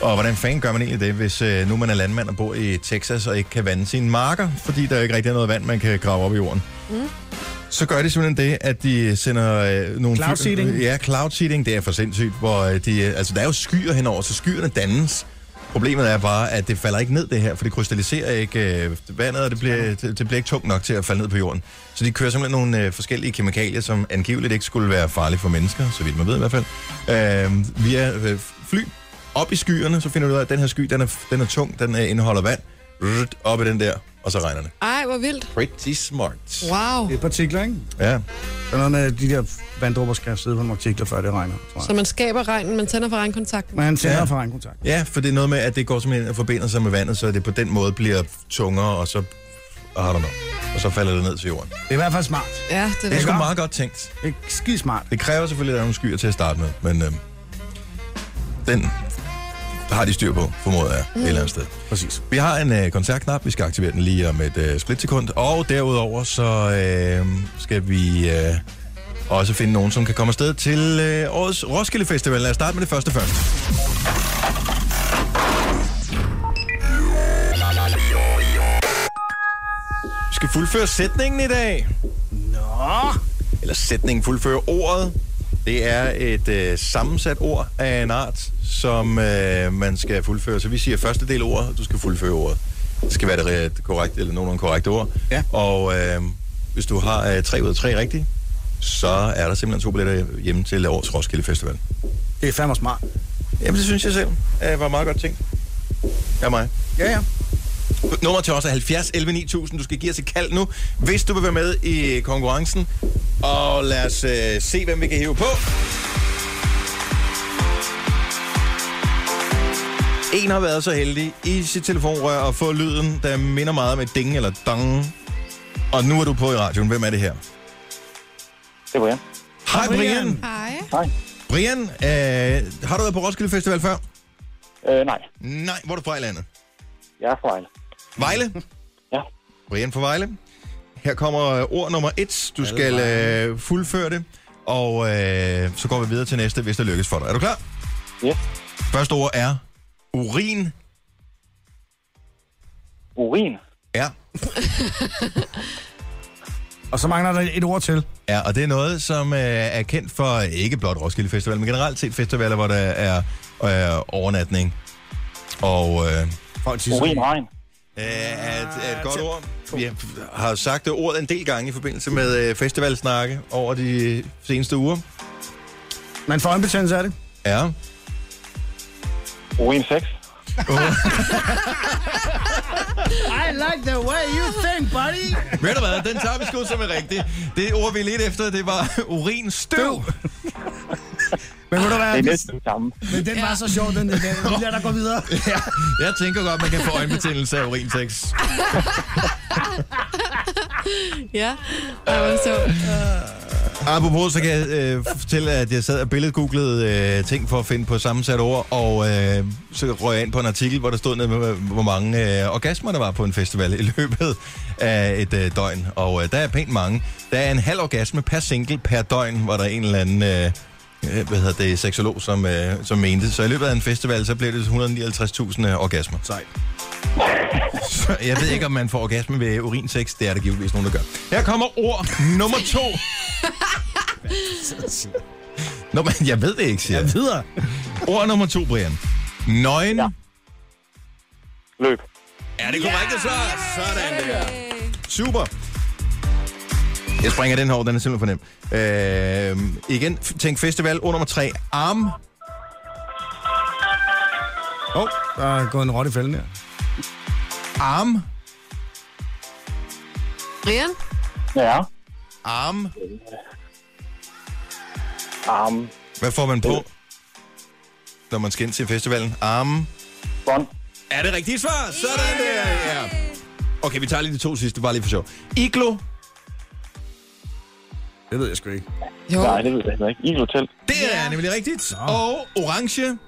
S1: Og hvordan fanden gør man egentlig det, hvis øh, nu man er landmand og bor i Texas og ikke kan vande sine marker, fordi der ikke rigtig er noget vand, man kan grave op i jorden? Mm. Så gør de simpelthen det, at de sender øh, nogle...
S2: Cloud seeding.
S1: Ja, cloud seeding, det er for sindssygt, hvor øh, de... øh, Altså, der er jo skyer henover, så skyerne dannes. Problemet er bare, at det falder ikke ned det her, for det krystalliserer ikke øh, vandet, og det bliver, det, det bliver ikke tungt nok til at falde ned på jorden. Så de kører simpelthen nogle øh, forskellige kemikalier, som angiveligt ikke skulle være farlige for mennesker, så vidt man ved i hvert fald, øh, via øh, fly op i skyerne, så finder du ud af, at den her sky, den er, den er tung, den øh, indeholder vand, Rrrt, op i den der, og så regner det.
S3: Ej, hvor vildt.
S1: Pretty smart.
S3: Wow.
S2: Det er partikler, ikke?
S1: Ja,
S2: Der er noget med, at de der vanddrupper skal sidde på nogle partikler, før det regner, tror jeg.
S3: Så man skaber regnen, man tænder for regnkontakten.
S2: Man tænder
S1: Ja.
S2: ja. for regnkontakt.
S1: ja for det er noget med, at det går simpelthen og forbinder sig med vandet, så det på den måde bliver tungere, og så, I don't know, og så falder det ned til jorden.
S2: Det er i hvert fald smart.
S3: Ja, det
S1: Det er
S3: er
S1: sgu
S2: godt.
S1: meget godt tænkt.
S2: Det er skide smart.
S1: Det kræver selvfølgelig, at der er nogle skyer til at starte med, men øhm, den har de styr på, formoder jeg, mm. et eller andet sted.
S2: Præcis.
S1: Vi har en øh, kontaktknap, vi skal aktivere den lige om et øh, splitsekund, og derudover så øh, skal vi øh, også finde nogen, som kan komme afsted til øh, årets Roskilde Festival. Lad os starte med det første først. Vi skal fuldføre sætningen i dag eller sætningen fuldfører ordet. Det er et øh, sammensat ord af en art, som øh, man skal fuldføre. Så vi siger første del ordet, og du skal fuldføre ordet. Det skal være det re- korrekte, eller nogenlunde korrekte ord.
S2: Ja.
S1: Og øh, hvis du har øh, tre ud af tre rigtigt, så er der simpelthen to billetter hjemme til årets Roskilde Festival.
S2: Det er fandme smart.
S1: Jamen, det synes jeg selv øh, var meget godt tænkt. Ja, mig.
S2: Ja, ja.
S1: Nummer til os er 70 11 9000. Du skal give os et kald nu, hvis du vil være med i konkurrencen. Og lad os øh, se, hvem vi kan hive på. 1 har været så heldig i sit telefonrør at få lyden, der minder meget om et ding eller dong. Og nu er du på i radioen. Hvem er det her?
S8: Det var jeg.
S1: Hej Brian.
S3: Hej.
S1: Brian, øh, har du været på Roskilde Festival før?
S8: Øh, nej,
S1: Nej, hvor er du fra i landet?
S8: jeg er fra Vejle.
S1: Vejle?
S8: Ja.
S1: Brian fra Vejle. Her kommer øh, ord nummer et. Du skal øh, fuldføre det, og øh, så går vi videre til næste, hvis det lykkes for dig. Er du klar?
S8: Ja.
S1: Første ord er urin.
S8: Urin.
S1: Ja.
S2: Og så mangler der et ord til.
S1: Ja, og det er noget, som øh, er kendt for øh, ikke blot Roskilde Festival, men generelt set festivaler, hvor der er øh, overnatning. Og øh,
S2: Folk siger
S8: Urin
S2: så-
S8: regn.
S1: øh, er, et, er et godt ord. Vi har sagt det ord en del gange i forbindelse med øh, festivalsnakke over de seneste uger.
S2: Man får øjenbetændelse af det.
S1: Ja.
S8: Urin sex.
S2: I like the way you think, buddy.
S1: Ved du hvad, den tager vi sgu som er rigtig. Det ord, vi ledte efter, det var urinstøv.
S2: Men ved du
S8: Det er
S2: hvad?
S8: næsten det samme.
S2: Men den var så sjov, den der. Vi lader dig gå videre.
S1: Ja, jeg tænker godt, man kan få øjenbetændelse af urinsex.
S3: Ja, Ej, hvor så.
S1: Apropos, så kan jeg øh, fortælle, at jeg sad og billedgooglede øh, ting for at finde på sammensatte ord, og øh, så røg jeg ind på en artikel, hvor der stod ned med, hvor mange øh, orgasmer der var på en festival i løbet af et øh, døgn. Og øh, der er pænt mange. Der er en halv orgasme per single per døgn, var der en eller anden øh, øh, hvad hedder det, seksolog, som, øh, som mente. Så i løbet af en festival, så blev det 159.000 øh, orgasmer.
S2: Sejt.
S1: Så jeg ved ikke, om man får orgasme ved urinsex. Det er der givetvis nogen, der gør. Her kommer ord nummer to. Nå, men jeg ved det ikke, siger jeg.
S2: Videre.
S1: Ord nummer to, Brian. Nøgen. Ja.
S8: Løb.
S1: Er det korrekt, så? Sådan der. Super. Jeg springer den her over, den er simpelthen for nem. Øh, igen, f- tænk festival. Ord nummer tre. Arm.
S2: Åh, oh, der er gået en rotte i fælden her.
S1: Arm.
S3: Brian?
S8: Ja.
S1: Arm.
S8: Arm.
S1: Hvad får man på, når man skal ind til festivalen? Arm.
S8: Bånd.
S1: Er det rigtigt svar? Sådan der, ja. Okay, vi tager lige de to sidste, bare lige for sjov. Iglo.
S2: Det ved jeg sgu ikke.
S3: Jo.
S8: Nej, det ved jeg heller ikke. Iglotel.
S1: Det er nemlig rigtigt. Og orange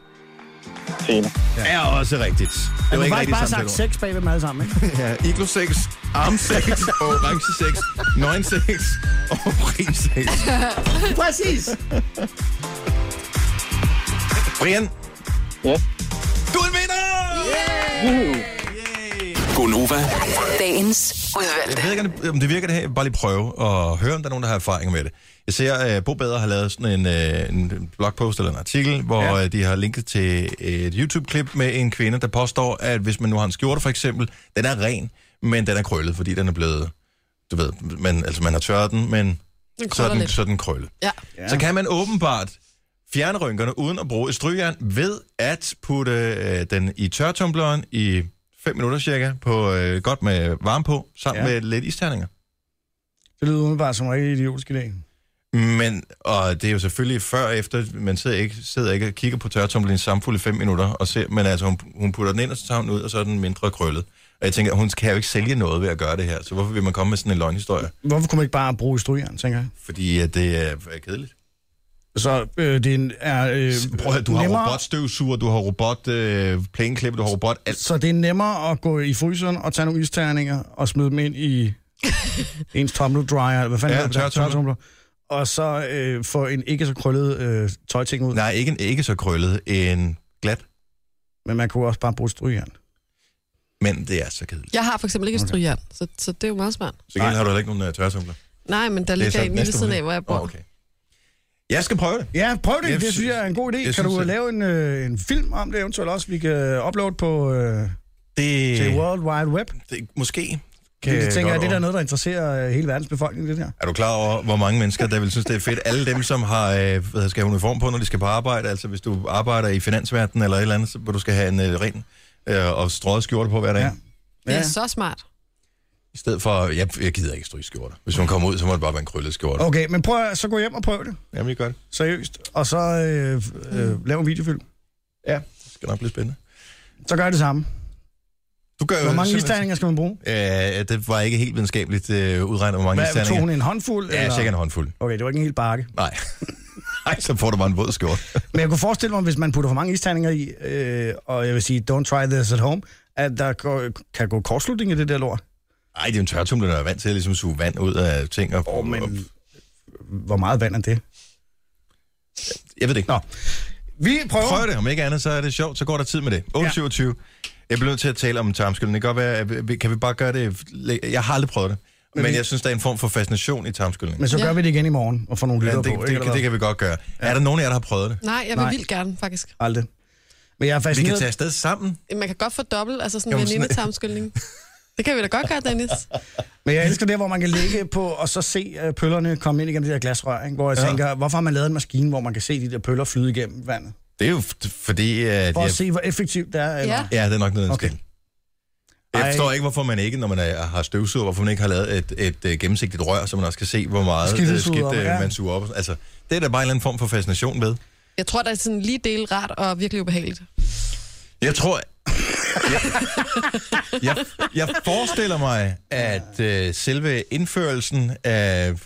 S8: Scene.
S1: er også rigtigt. Det
S2: Du
S1: var
S2: har
S1: ikke
S2: faktisk
S1: rigtigt
S2: bare
S1: samtale
S2: sagt
S1: ord.
S2: sex bag ved dem alle sammen, ikke?
S1: Ja, iglo 6, arm 6, orange 6, nøgen 6 og urin 6.
S2: Præcis.
S1: Brian,
S8: Ja.
S1: du er en vinder!
S8: Juhu.
S6: Gonova.
S5: Dagens udvalgte.
S1: Jeg ved ikke, om det- om det virker det her. Jeg vil bare lige prøve at høre, om der er nogen, der har erfaring med det. Jeg ser, at Bo Bader har lavet sådan en, øh, en blogpost eller en artikel, hvor
S2: Ja.
S1: ja. de har linket til et YouTube-klip med en kvinde, der påstår, at hvis man nu har en skjorte for eksempel, den er ren, men den er krøllet, fordi den er blevet, du ved, man, altså man har tørret den, men
S3: Den
S1: så er
S3: krøller
S1: den,
S3: lidt.
S1: så er den krøllet.
S3: Ja.
S1: Ja. Så kan man åbenbart fjerne rynkerne uden at bruge et strygejern ved at putte øh, den i tørretumbleren i 5 minutter cirka, på, øh, godt med varme på, sammen ja.
S2: Ja.
S1: med lidt isterninger.
S2: Det lyder udenbart som en rigtig idiotisk idé.
S1: Men, og det er jo selvfølgelig før og efter, man sidder ikke, sidder ikke og kigger på tørretumbleren samfuld i 5 minutter, og ser, men altså hun, hun putter den ind, og så tager hun ud, og så er den mindre krøllet. Og jeg tænker, hun kan jo ikke sælge noget ved at gøre det her, så hvorfor vil man komme med sådan en løgnhistorie?
S2: Hvorfor kunne man ikke bare bruge strygeren, tænker jeg?
S1: Fordi at det er er kedeligt.
S2: Så øh, det er øh,
S1: Prøv at høre, du har
S2: nemmere,
S1: robotstøvsuger, du har robot øh, plæneklipper, du har robot alt.
S2: Altså, Så det er nemmere at gå i fryseren og tage nogle isterninger og smide dem ind i ens tumble dryer, hvad fanden
S1: Ja,
S2: ja, det,
S1: tørretumbler.
S2: tørretumbler, og så øh, få en ikke så krøllet øh, tøjting ud. Nej.
S1: Nej, ikke, en, ikke så krøllet, en glat,
S2: Men man kunne også bare bruge strygeren.
S1: men det er så kedeligt.
S3: Jeg har for eksempel ikke et strygjern, så, så det er jo meget smart.
S1: Så igen har du heller ikke nogen uh, tørretumbler.
S3: Nej, men der
S1: Det er
S3: ligger
S1: så
S3: en lille
S1: næste
S3: siden
S1: runde.
S3: af, hvor jeg bor.
S1: Åh, okay. Jeg skal prøve det.
S2: Ja, prøv det.
S1: Jeg
S2: det synes jeg er en god idé.
S1: jeg
S2: Kan
S1: synes,
S2: du
S1: jeg-
S2: lave en, øh, en film om det eventuelt også, vi kan uploade på øh,
S1: Det,
S2: til World Wide Web?
S1: det måske.
S2: Kan det tænker jeg,
S1: godt
S2: det der er
S1: over.
S2: noget, der interesserer øh, hele verdens befolkning, det der.
S1: Er du klar over, hvor mange mennesker, der vil synes, det er fedt? Alle dem, som har, øh, hvad hedder, skal have uniform på, når de skal på arbejde. Altså, hvis du arbejder i finansverdenen eller et eller andet, så, hvor du skal have en øh, ren øh, og strøget skjorte på hver dag. Ja.
S2: Ja.
S3: Det er så smart.
S1: I stedet for, jeg, jeg gider ikke stryge skjorter. Hvis man kommer ud, så må det bare være en krøllet skjorte. Oh.
S2: Okay, men prøv at så gå hjem og prøv det.
S1: Jamen, jeg gør det.
S2: Seriøst. Og så øh,
S3: Mm.
S2: øh, lav en videofilm.
S1: Ja. Det skal nok blive spændende.
S2: Så gør jeg det samme.
S1: Du gør jo
S2: Hvor mange
S1: Øh, simpelthen-
S2: isterninger skal man bruge?
S1: Øh, det var ikke helt videnskabeligt øh, udregnet, hvor mange
S2: Hvad, tog hun
S1: isterninger.
S2: en håndfuld?
S1: Ja, cirka en håndfuld.
S2: Okay, det var ikke en hel bakke.
S1: Nej. Nej, så får du bare en våd skjort.
S2: Men jeg kunne forestille mig, hvis man putter for mange isterninger i, øh, og jeg vil sige, don't try this at home, at der går, kan gå kortslutning i det der lort.
S1: Nej, det er jo en tørretumbler, der er vant til at ligesom suge vand ud af ting. Og,
S2: Åh, men
S1: og,
S2: hvor meget vand er det?
S1: jeg ved det ikke.
S2: Nå. Vi prøver.
S1: Prøv det, om ikke andet, så er det sjovt, så går der tid med det. 8.27. Jeg bliver nødt til at tale om tarmskylden. Det kan godt være, at vi- kan vi bare gøre det... Jeg har aldrig prøvet det, men, men jeg synes, der er en form for fascination i tarmskyldning.
S2: Men så gør
S3: Ja.
S2: vi det igen i morgen, og får nogle
S1: Ja,
S2: lytter
S1: det, det,
S2: på.
S1: det, det kan vi godt gøre. Er der nogen af jer, der har prøvet det?
S3: Nej, jeg vil
S2: Nej.
S3: vildt gerne, faktisk.
S2: Aldrig. Men jeg er
S1: Vi kan
S2: fascineret.
S1: tage afsted sammen.
S3: Man kan godt få dobbelt, altså sådan
S1: Jamen,
S3: en
S1: sådan-
S3: venindetarmskyldning. Det kan vi da godt gøre, Dennis.
S2: Men jeg elsker det, hvor man kan ligge på, og så se øh, pøllerne komme ind igennem det der glasrør, ikke? hvor jeg
S1: Ja.
S2: ja. tænker, hvorfor har man lavet en maskine, hvor man kan se de der pøller flyde igennem vandet?
S1: Det er jo f- fordi... At
S2: For at
S1: jeg-
S2: se, hvor effektivt det er. Eller?
S3: Ja.
S1: Ja, det er nok noget okay.
S2: Okay.
S1: stil. Jeg
S2: Ej.
S1: forstår ikke, hvorfor man ikke, når man er, har støvsuger, hvorfor man ikke har lavet et, et, øh, gennemsigtigt rør, så man også kan se, hvor meget
S2: Skidt,
S1: skidt,
S2: det
S1: øh,
S2: suger
S1: skidt
S2: op,
S1: øh,
S2: ja.
S1: man suger op. Altså, det er da bare en eller anden form for fascination ved.
S3: Jeg tror, der er sådan lige del rart og virkelig ubehageligt.
S1: Jeg tror... Jeg, jeg, jeg forestiller mig, at øh, selve indførelsen af... Øh,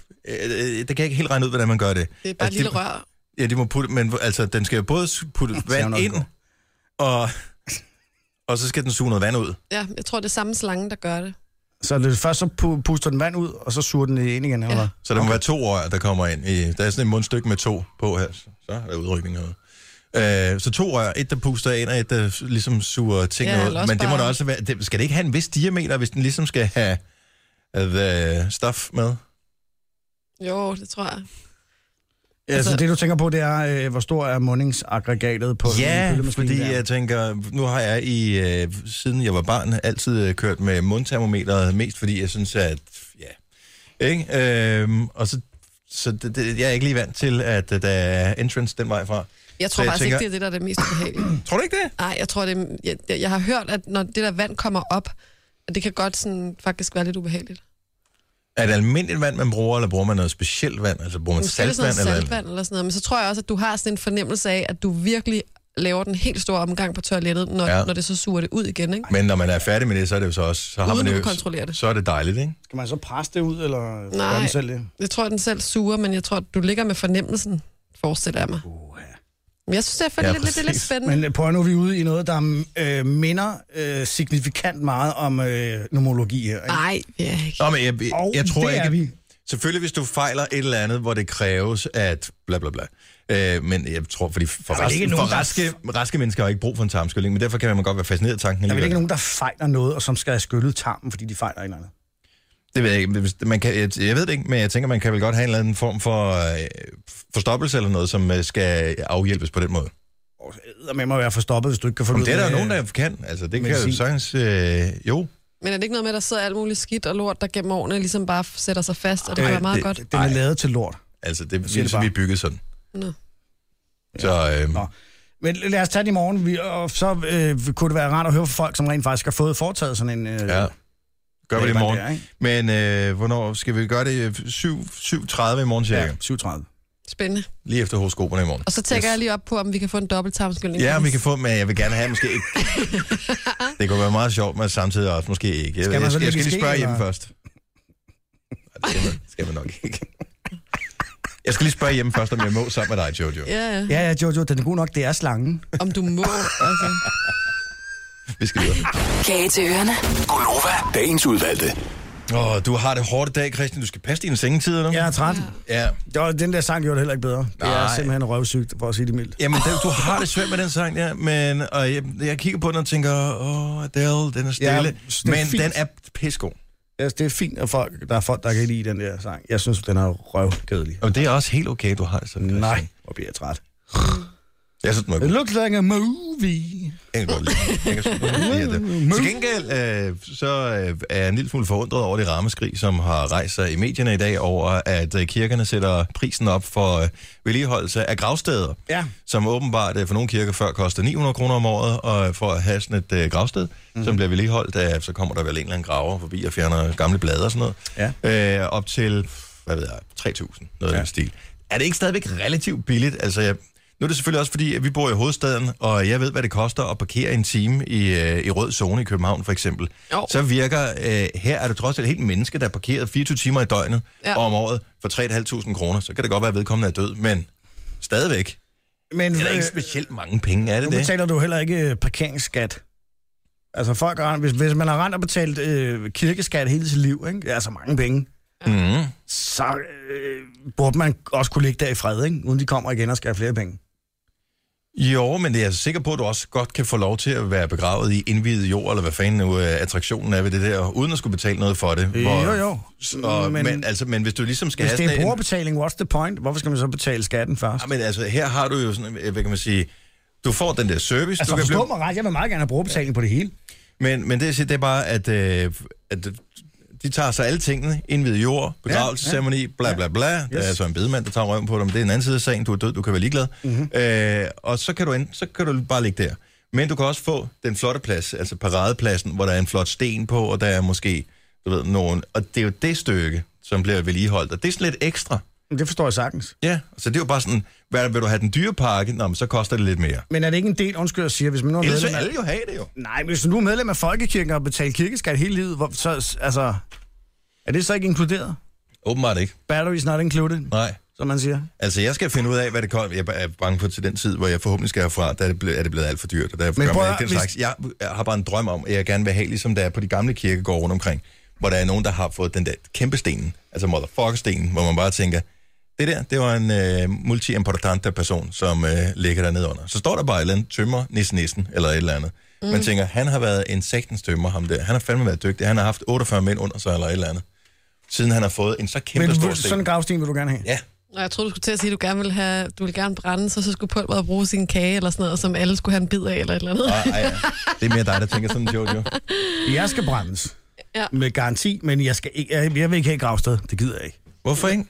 S1: øh, det kan jeg ikke helt regne ud, hvordan man gør det.
S3: Det er bare
S1: At
S3: et lille rør.
S1: Ja, de må putte, men altså, den skal jo både s- putte vand
S2: nok
S1: ind,
S2: godt.
S1: og, og så skal den suge noget vand ud.
S3: Ja, jeg tror, det er samme slange, der gør det.
S2: Så det, først så pu- puster den vand ud, og så suger den det ind igen. Eller? hvad?
S1: Så der okay. må være to rør, der kommer ind. I, der er sådan et mundstykke med to på her. Så er der udrykning herude. Øh, så to rør, et der puster ind, og et der s- ligesom suger ting
S3: Ja,
S1: ja,
S3: eller
S1: ud.
S3: også
S1: Men det må
S3: bare-
S1: da også være, det, skal det ikke have en vis diameter, hvis den ligesom skal have uh, the stuff med?
S3: Jo, det tror jeg.
S2: Ja, så
S3: Altså-
S2: det du tænker på, det er, øh, hvor stor er mundingsaggregatet på
S1: ja,
S2: en pøllemaskine
S1: fordi
S2: der?
S1: jeg tænker, nu har jeg i, øh, siden jeg var barn, altid øh, kørt med mundtermometeret, mest fordi jeg synes, at, ja, ikke? Øhm, og så, så det, det, jeg er ikke lige vant til, at øh, der er entrance den vej fra.
S3: Jeg tror
S1: Så jeg
S3: jeg faktisk
S1: tænker-
S3: tænker... ikke, det er det, der er det mest ubehagelige.
S1: Tror du ikke det?
S3: Nej, jeg tror, det er, jeg, jeg, har hørt, at når det der vand kommer op, at det kan godt sådan, faktisk være lidt ubehageligt.
S1: Er det almindeligt vand, man bruger, eller bruger man noget specielt vand? Altså bruger man
S3: Måske er det
S1: saltvand?
S3: sådan noget
S1: eller?
S3: saltvand eller sådan noget. Men så tror jeg også, at du har sådan en fornemmelse af, at du virkelig laver den helt store omgang på toilettet, når,
S1: Ja.
S3: ja. når det så suger det ud igen. Ikke?
S1: Men når man er færdig med det, så er det jo så også... Så har
S3: Uden
S1: man
S3: at
S1: det,
S3: kunne kontrollere det.
S1: Så er det dejligt, ikke?
S2: Skal man så presse det ud, eller
S3: Nej.
S2: gør den selv det?
S3: Jeg tror, at den selv suger, men jeg tror, at du ligger med fornemmelsen, forestiller jeg mig. Men jeg synes, det er,
S1: Ja,
S3: ja, lidt, lidt, det er lidt
S1: præcis.
S3: spændende.
S2: Men øh, prøv at nu er vi ude i noget, der øh, minder øh, signifikant meget om øh, nomologi her. Ikke?
S3: Nej, vi er ikke.
S1: Nå, men jeg, jeg,
S2: Og
S1: jeg tror
S2: det
S1: ikke...
S2: er vi.
S1: Selvfølgelig, hvis du fejler et eller andet, hvor det kræves, at bla bla bla. Øh, men jeg tror, fordi for,
S2: vel ikke
S1: raske,
S2: nogen,
S1: for
S2: der-
S1: raske, raske mennesker har ikke brug for en tarmskylling, men derfor kan man godt være fascineret af tanken.
S2: Der er vel
S1: alligevel.
S2: ikke nogen, der fejler noget, og som skal have skyllet tarmen, fordi de fejler et eller andet.
S1: Det ved jeg ikke. men hvis- Man kan, jeg, jeg ved det ikke, men jeg tænker, man kan vel godt have en eller anden form for øh, forstoppelse eller noget, som øh, skal afhjælpes på den måde.
S2: Og så med mig at være forstoppet, hvis du ikke kan få
S1: Om
S2: ud
S1: det er der
S2: af-
S1: jo nogen, der kan. Altså, det kan jo
S2: medicin.
S1: sagtens... Øh, jo.
S3: Men er det ikke noget med, at der sidder alt muligt skidt og lort, der gennem årene ligesom bare f- sætter sig fast, og det kan være meget
S1: Øh, det-
S3: godt?
S2: Den er lavet til lort.
S1: Altså, det, det
S2: siger det
S1: så vi er
S2: bare.
S1: bygget sådan.
S3: Nå.
S1: Så øh,
S2: Nå. Men lad os tage det i morgen, vi, og så øh, kunne det være rart at høre fra folk, som rent faktisk har fået foretaget sådan en... Øh,
S1: ja, gør vi det i
S2: Ja,
S1: morgen.
S2: der, ikke?
S1: Men øh, hvornår skal vi gøre det? 7, 7.30 i morgen cirka.
S2: Ja, 37.
S3: Spændende.
S1: Lige efter horoskoperne i morgen.
S3: Og så tænker yes. jeg lige op på, om vi kan få en dobbelt tarmskyldning.
S1: Ja, vi kan få, men jeg vil gerne have måske ikke. det kunne være meget sjovt, men samtidig også måske ikke. Jeg,
S2: Skal man
S1: jeg,
S2: så
S1: jeg, jeg
S2: lægge
S1: skal
S2: ske,
S1: lige spørge hjemme
S2: eller?
S1: først. Nej, det skal man, skal man nok ikke. Jeg skal lige spørge hjemme først, om jeg må sammen med dig, Jojo.
S3: Ja, ja.
S2: Ja, ja, Jojo, den er god nok, det er slangen.
S3: Om du må, altså.
S1: Vi skal videre.
S5: Kage til ørerne.
S6: Gunova, dagens udvalgte.
S1: Åh, du har det hårdt i dag, Christian. Du skal passe dine sengetider nu.
S2: Jeg er træt.
S1: ja.
S2: Jo, den der sang gjorde det heller ikke bedre. Det er
S1: Nej.
S2: simpelthen røvsygt, for at sige det mildt.
S1: Jamen, den, du har det svært med den sang der, men, og jeg, jeg kigger på den og tænker, åh, oh, Adele, den er stille.
S2: Ja,
S1: Ja,
S2: det
S1: er
S2: er
S1: men
S2: fint.
S1: den er pissegod.
S2: Altså, det er fint, at folk, der er folk, der kan lide den der sang. Jeg synes, den er røvkedelig.
S1: Og det er også helt okay, du har det sådan. Christian.
S2: Nej, hvor bliver jeg træt.
S1: Jeg synes, den er god.
S2: It looks like a movie.
S1: Jeg kan godt lide det. Jeg kan sgu godt lide det. Til gengæld øh, så øh, er jeg en lille smule forundret over det rammeskrig, som har rejst sig i medierne i dag over, at øh, kirkerne sætter prisen op for øh, vedligeholdelse af gravsteder,
S2: Ja.
S1: som åbenbart øh, for nogle kirker før kostede 900 kroner om året og øh, for at have sådan et øh, gravsted, mm. som bliver vedligeholdt. Øh, så kommer der vel en eller anden graver forbi og fjerner gamle blade og sådan noget. Ja. Øh, op til, hvad ved jeg, 3.000, noget ja. af den stil. Er det ikke stadigvæk relativt billigt? Altså, jeg, Nu er det selvfølgelig også fordi, at vi bor i hovedstaden, og jeg ved, hvad det koster at parkere en time i, øh, i rød zone i København, for eksempel.
S3: Jo.
S1: Så virker, øh, her er det trods alt helt menneske, der er parkeret 24 timer i døgnet ja.
S3: Ja.
S1: om året for 3.500 kroner. Så kan det godt være, at vedkommende er død, men stadigvæk.
S2: Men
S1: Det er da ikke
S2: øh,
S1: specielt mange penge, er det
S2: nu
S1: det?
S2: betaler du heller ikke øh, parkeringsskat. Altså folk har, hvis, hvis man har rent og betalt øh, kirkeskat hele sit liv, ikke? Det er altså mange penge,
S1: Mm.
S2: så øh, burde man også kunne ligge der i fred, ikke? uden de kommer igen og skal have flere penge.
S1: Jo, men jeg er sikker på, at du også godt kan få lov til at være begravet i indvidet jord, eller hvad fanden nu øh, attraktionen er ved det der, uden at skulle betale noget for det.
S2: jo, jo. Mm,
S1: Og, men,
S2: Men-
S1: men, altså, men hvis du ligesom skal
S2: Hvis
S1: have
S2: det er
S1: sådan en-
S2: brugerbetaling, what's the point? Hvorfor skal man så betale skatten først?
S1: Ja, men altså, her har du jo sådan, øh, hvad kan man sige, du får den der service,
S2: Altså
S1: du kan
S2: forstå mig ret, jeg vil meget gerne have brugerbetaling på det hele.
S1: men, men det, jeg siger, det er bare, at, øh, at de tager sig alle tingene, indvid jord, begravelsesceremoni, bla bla bla. Der er
S2: Yes.
S1: altså en bedemand, der tager røven på dig, men det er en anden side af sagen, du er død, du kan være ligeglad. Mm-hmm. Øh, og så kan, du enten, så kan du bare ligge der. Men du kan også få den flotte plads, altså paradepladsen, hvor der er en flot sten på, og der er måske, du ved, nogen. Og det er jo det stykke, som bliver vedligeholdt, og det er sådan lidt ekstra.
S2: Men Det forstår jeg sagtens.
S1: Ja, så det er jo bare sådan, hvad, vil du have den dyre pakke? Nå, men så koster det lidt mere.
S2: Men er det ikke en del, undskyld, jeg siger, hvis man nu er
S1: Ellers vil
S2: medlem af...
S1: alle jo have det jo.
S2: Nej, men hvis du nu er medlem af Folkekirken og betaler kirkeskat hele livet, hvor, så, altså, er det så ikke inkluderet?
S1: Åbenbart ikke.
S2: Batteries not included,
S1: Nej.
S2: som man siger.
S1: Altså, jeg skal finde ud af, hvad det kommer. Jeg er bange for til den tid, hvor jeg forhåbentlig skal herfra, der er det blevet, er det blevet alt for dyrt, og der gør
S2: prøv
S1: man
S2: at-
S1: ikke den
S2: hvis-
S1: slags. Jeg, jeg har bare en drøm om, at jeg gerne vil have, ligesom der er på de gamle kirkegårde rundt omkring, hvor der er nogen, der har fået den der kæmpe stenen, altså motherfucker-stenen, hvor man bare tænker, det der, det var en øh, multi-importante person, som øh, ligger dernede under. Så står der bare et eller andet tømmer, nissen, nissen, eller et eller andet. Mm. Man tænker, han har været en sektens tømmer, ham der. Han har fandme været dygtig. Han har haft 48 mænd under sig, eller et eller andet. Siden han har fået en så kæmpe
S2: Men
S1: stor
S2: du,
S1: sten.
S2: sådan en gravsten vil du gerne have.
S1: Ja,
S3: Og jeg troede, du skulle til at sige, at du gerne ville, have, du ville gerne brænde, så, så skulle pulveret bruge sin kage eller sådan noget, som alle skulle have en bid af eller et eller andet.
S1: Ej, ej, det er mere dig, der tænker sådan, Jojo.
S2: Jeg skal brændes.
S3: Ja.
S2: Med garanti, men jeg, skal ikke, jeg, jeg vil ikke have et gravsted. Det gider jeg ikke.
S1: Hvorfor ikke?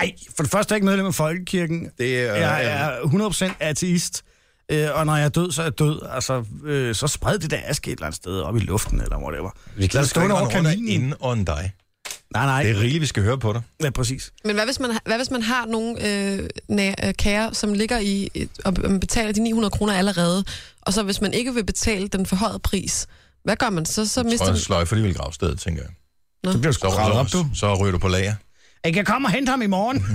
S2: Nej, for det første er jeg ikke medlem af Folkekirken.
S1: Det er- øh,
S2: jeg er 100% ateist. Øh, og når jeg er død, så er jeg død. Altså, øh, så spred det der aske et eller andet sted op i luften, eller whatever.
S1: Vi
S2: Lad os stå over kaminen.
S1: inden on dig.
S2: Nej, nej.
S1: Det er rigeligt, vi skal høre på dig.
S2: Ja, præcis.
S3: Men hvad hvis man, hvad hvis man har nogle øh, næ- øh, kager, som ligger i, et- og man betaler de 900 kroner allerede, og så hvis man ikke vil betale den forhøjede pris, hvad gør man så? Så
S1: Jeg
S3: mister
S1: tror,
S3: man...
S1: jeg sløjfer alligevel gravstedet, tænker jeg.
S2: Så bliver du
S1: Så,
S2: sgu gravet op,
S1: så,
S2: du.
S1: så ryger du på lager.
S2: Jeg kan komme og hente ham i morgen.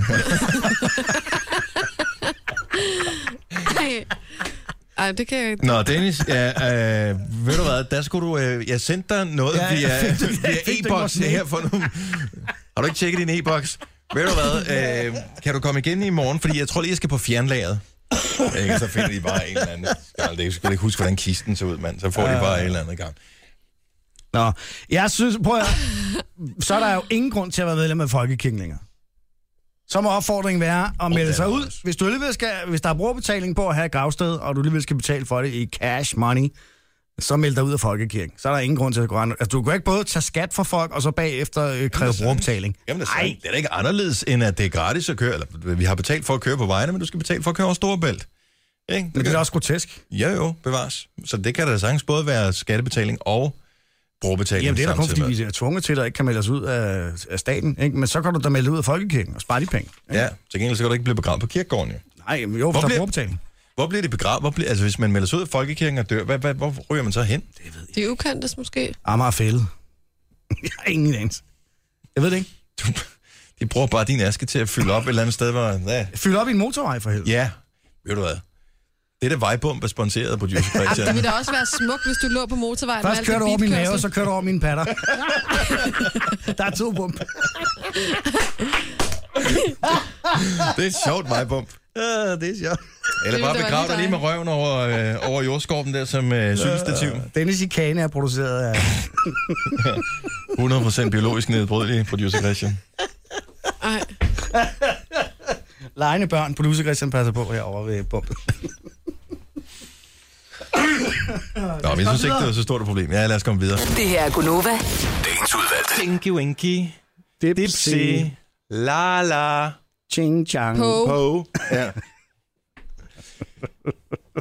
S3: Ej. Ej, det kan jeg ikke.
S1: Nå, Dennis, ja, øh, ved du hvad, der skulle du... Øh, jeg sendte dig noget
S2: Ja,
S1: ja,
S2: jeg
S1: via,
S2: fik det- jeg
S1: via
S2: fik det i
S1: e-boks
S2: vores
S1: her for nu. Har du ikke tjekket din e-boks? Ved du hvad, øh, kan du komme igen i morgen? Fordi jeg tror lige, jeg skal på fjernlageret. Ikke, så finder de bare en eller anden. Jeg kan sgu da ikke huske, hvordan kisten så ud, mand. Så får de bare en eller anden gang.
S2: Nå, jeg synes, prøv at, så er der jo ingen grund til at være medlem af Folkekirken længere. Så må opfordringen være at
S1: det er
S2: melde sig
S1: der
S2: ud.
S1: også.
S2: Hvis, du alligevel skal, hvis der er brugerbetaling på at have et gravsted, og du alligevel skal betale for det i cash money, så meld dig ud af Folkekirken. Så er der ingen grund til at gå andre. Altså, du kan jo ikke både tage skat fra folk, og så bagefter øh, kræve brugerbetaling.
S1: Jamen, det er,
S2: Nej,
S1: sandt. det er da ikke anderledes, end at det er gratis at køre. Eller, vi har betalt for at køre på vejene, men du skal betale for at køre over Storebælt. Ikke?
S2: men det er da også grotesk.
S1: Ja, jo, bevares. Så det kan da sagtens både være skattebetaling og brugerbetaling
S2: Jamen, det er da kun,
S1: samtidig
S2: fordi
S1: med.
S2: vi er tvunget til, at ikke kan melde os ud af, af staten. Ikke? Men så kan du da melde dig ud af Folkekirken og spare de penge.
S1: Ja, til gengæld så kan du ikke blive begravet på kirkegården, jo.
S2: Nej, men jo, for der er
S1: bliver-
S2: brugerbetaling.
S1: Hvor bliver det begravet? Hvor bliver, altså, hvis man melder sig ud af folkekirken og dør, hvad, hvad, hvor ryger man så hen?
S3: De ukendtes måske.
S2: Amager Fælde. Jeg har ingen anelse. Jeg ved det ikke.
S1: Du, de bruger bare din aske til at fylde op et eller andet sted, hvor... Ja,
S2: Fyld op i en motorvej for helvede.
S1: ja ved du hvad? Det er det vejbomb, der sponsoreret på Juicy
S3: Ej, det ville
S1: Christian.
S3: da også være smukt, hvis du lå på motorvejen.
S2: Først kører du over min mave, så kører du over mine patter. der er to bump.
S1: Det er et sjovt vejbomb.
S2: Ja, Øh, det er sjovt.
S1: Eller bare
S3: Det ville da være
S1: begrav dig
S3: lige
S1: lige med røven over, øh, over jordskorpen der som øh, cykelstativ.
S2: Denne chikane er produceret af...
S1: 100% biologisk nedbrydelig, producer Christian.
S3: Ej.
S2: Lejende børn, producer Christian passer på herovre ved bumpet.
S1: Nå, men jeg synes ikke, det var så stort et problem. Ja, lad os komme videre.
S5: Det her er Gunova.
S6: Dagens udvalgte.
S1: Inky Winky,
S2: Dipsy,
S1: la la,
S2: ching chang.
S3: På.
S1: po. Uh. Ja,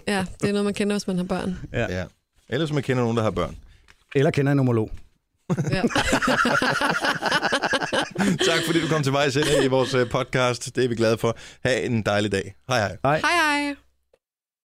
S3: Ja, det er noget, man kender, hvis man har børn.
S1: ja. Ellers man kender nogen, der har børn.
S2: Eller kender en homolog.
S3: Ja.
S1: Tak fordi du kom til vej selv i vores øh, podcast. Det er vi glade for. Ha' en dejlig dag. Hej hej.
S3: Hej, hej.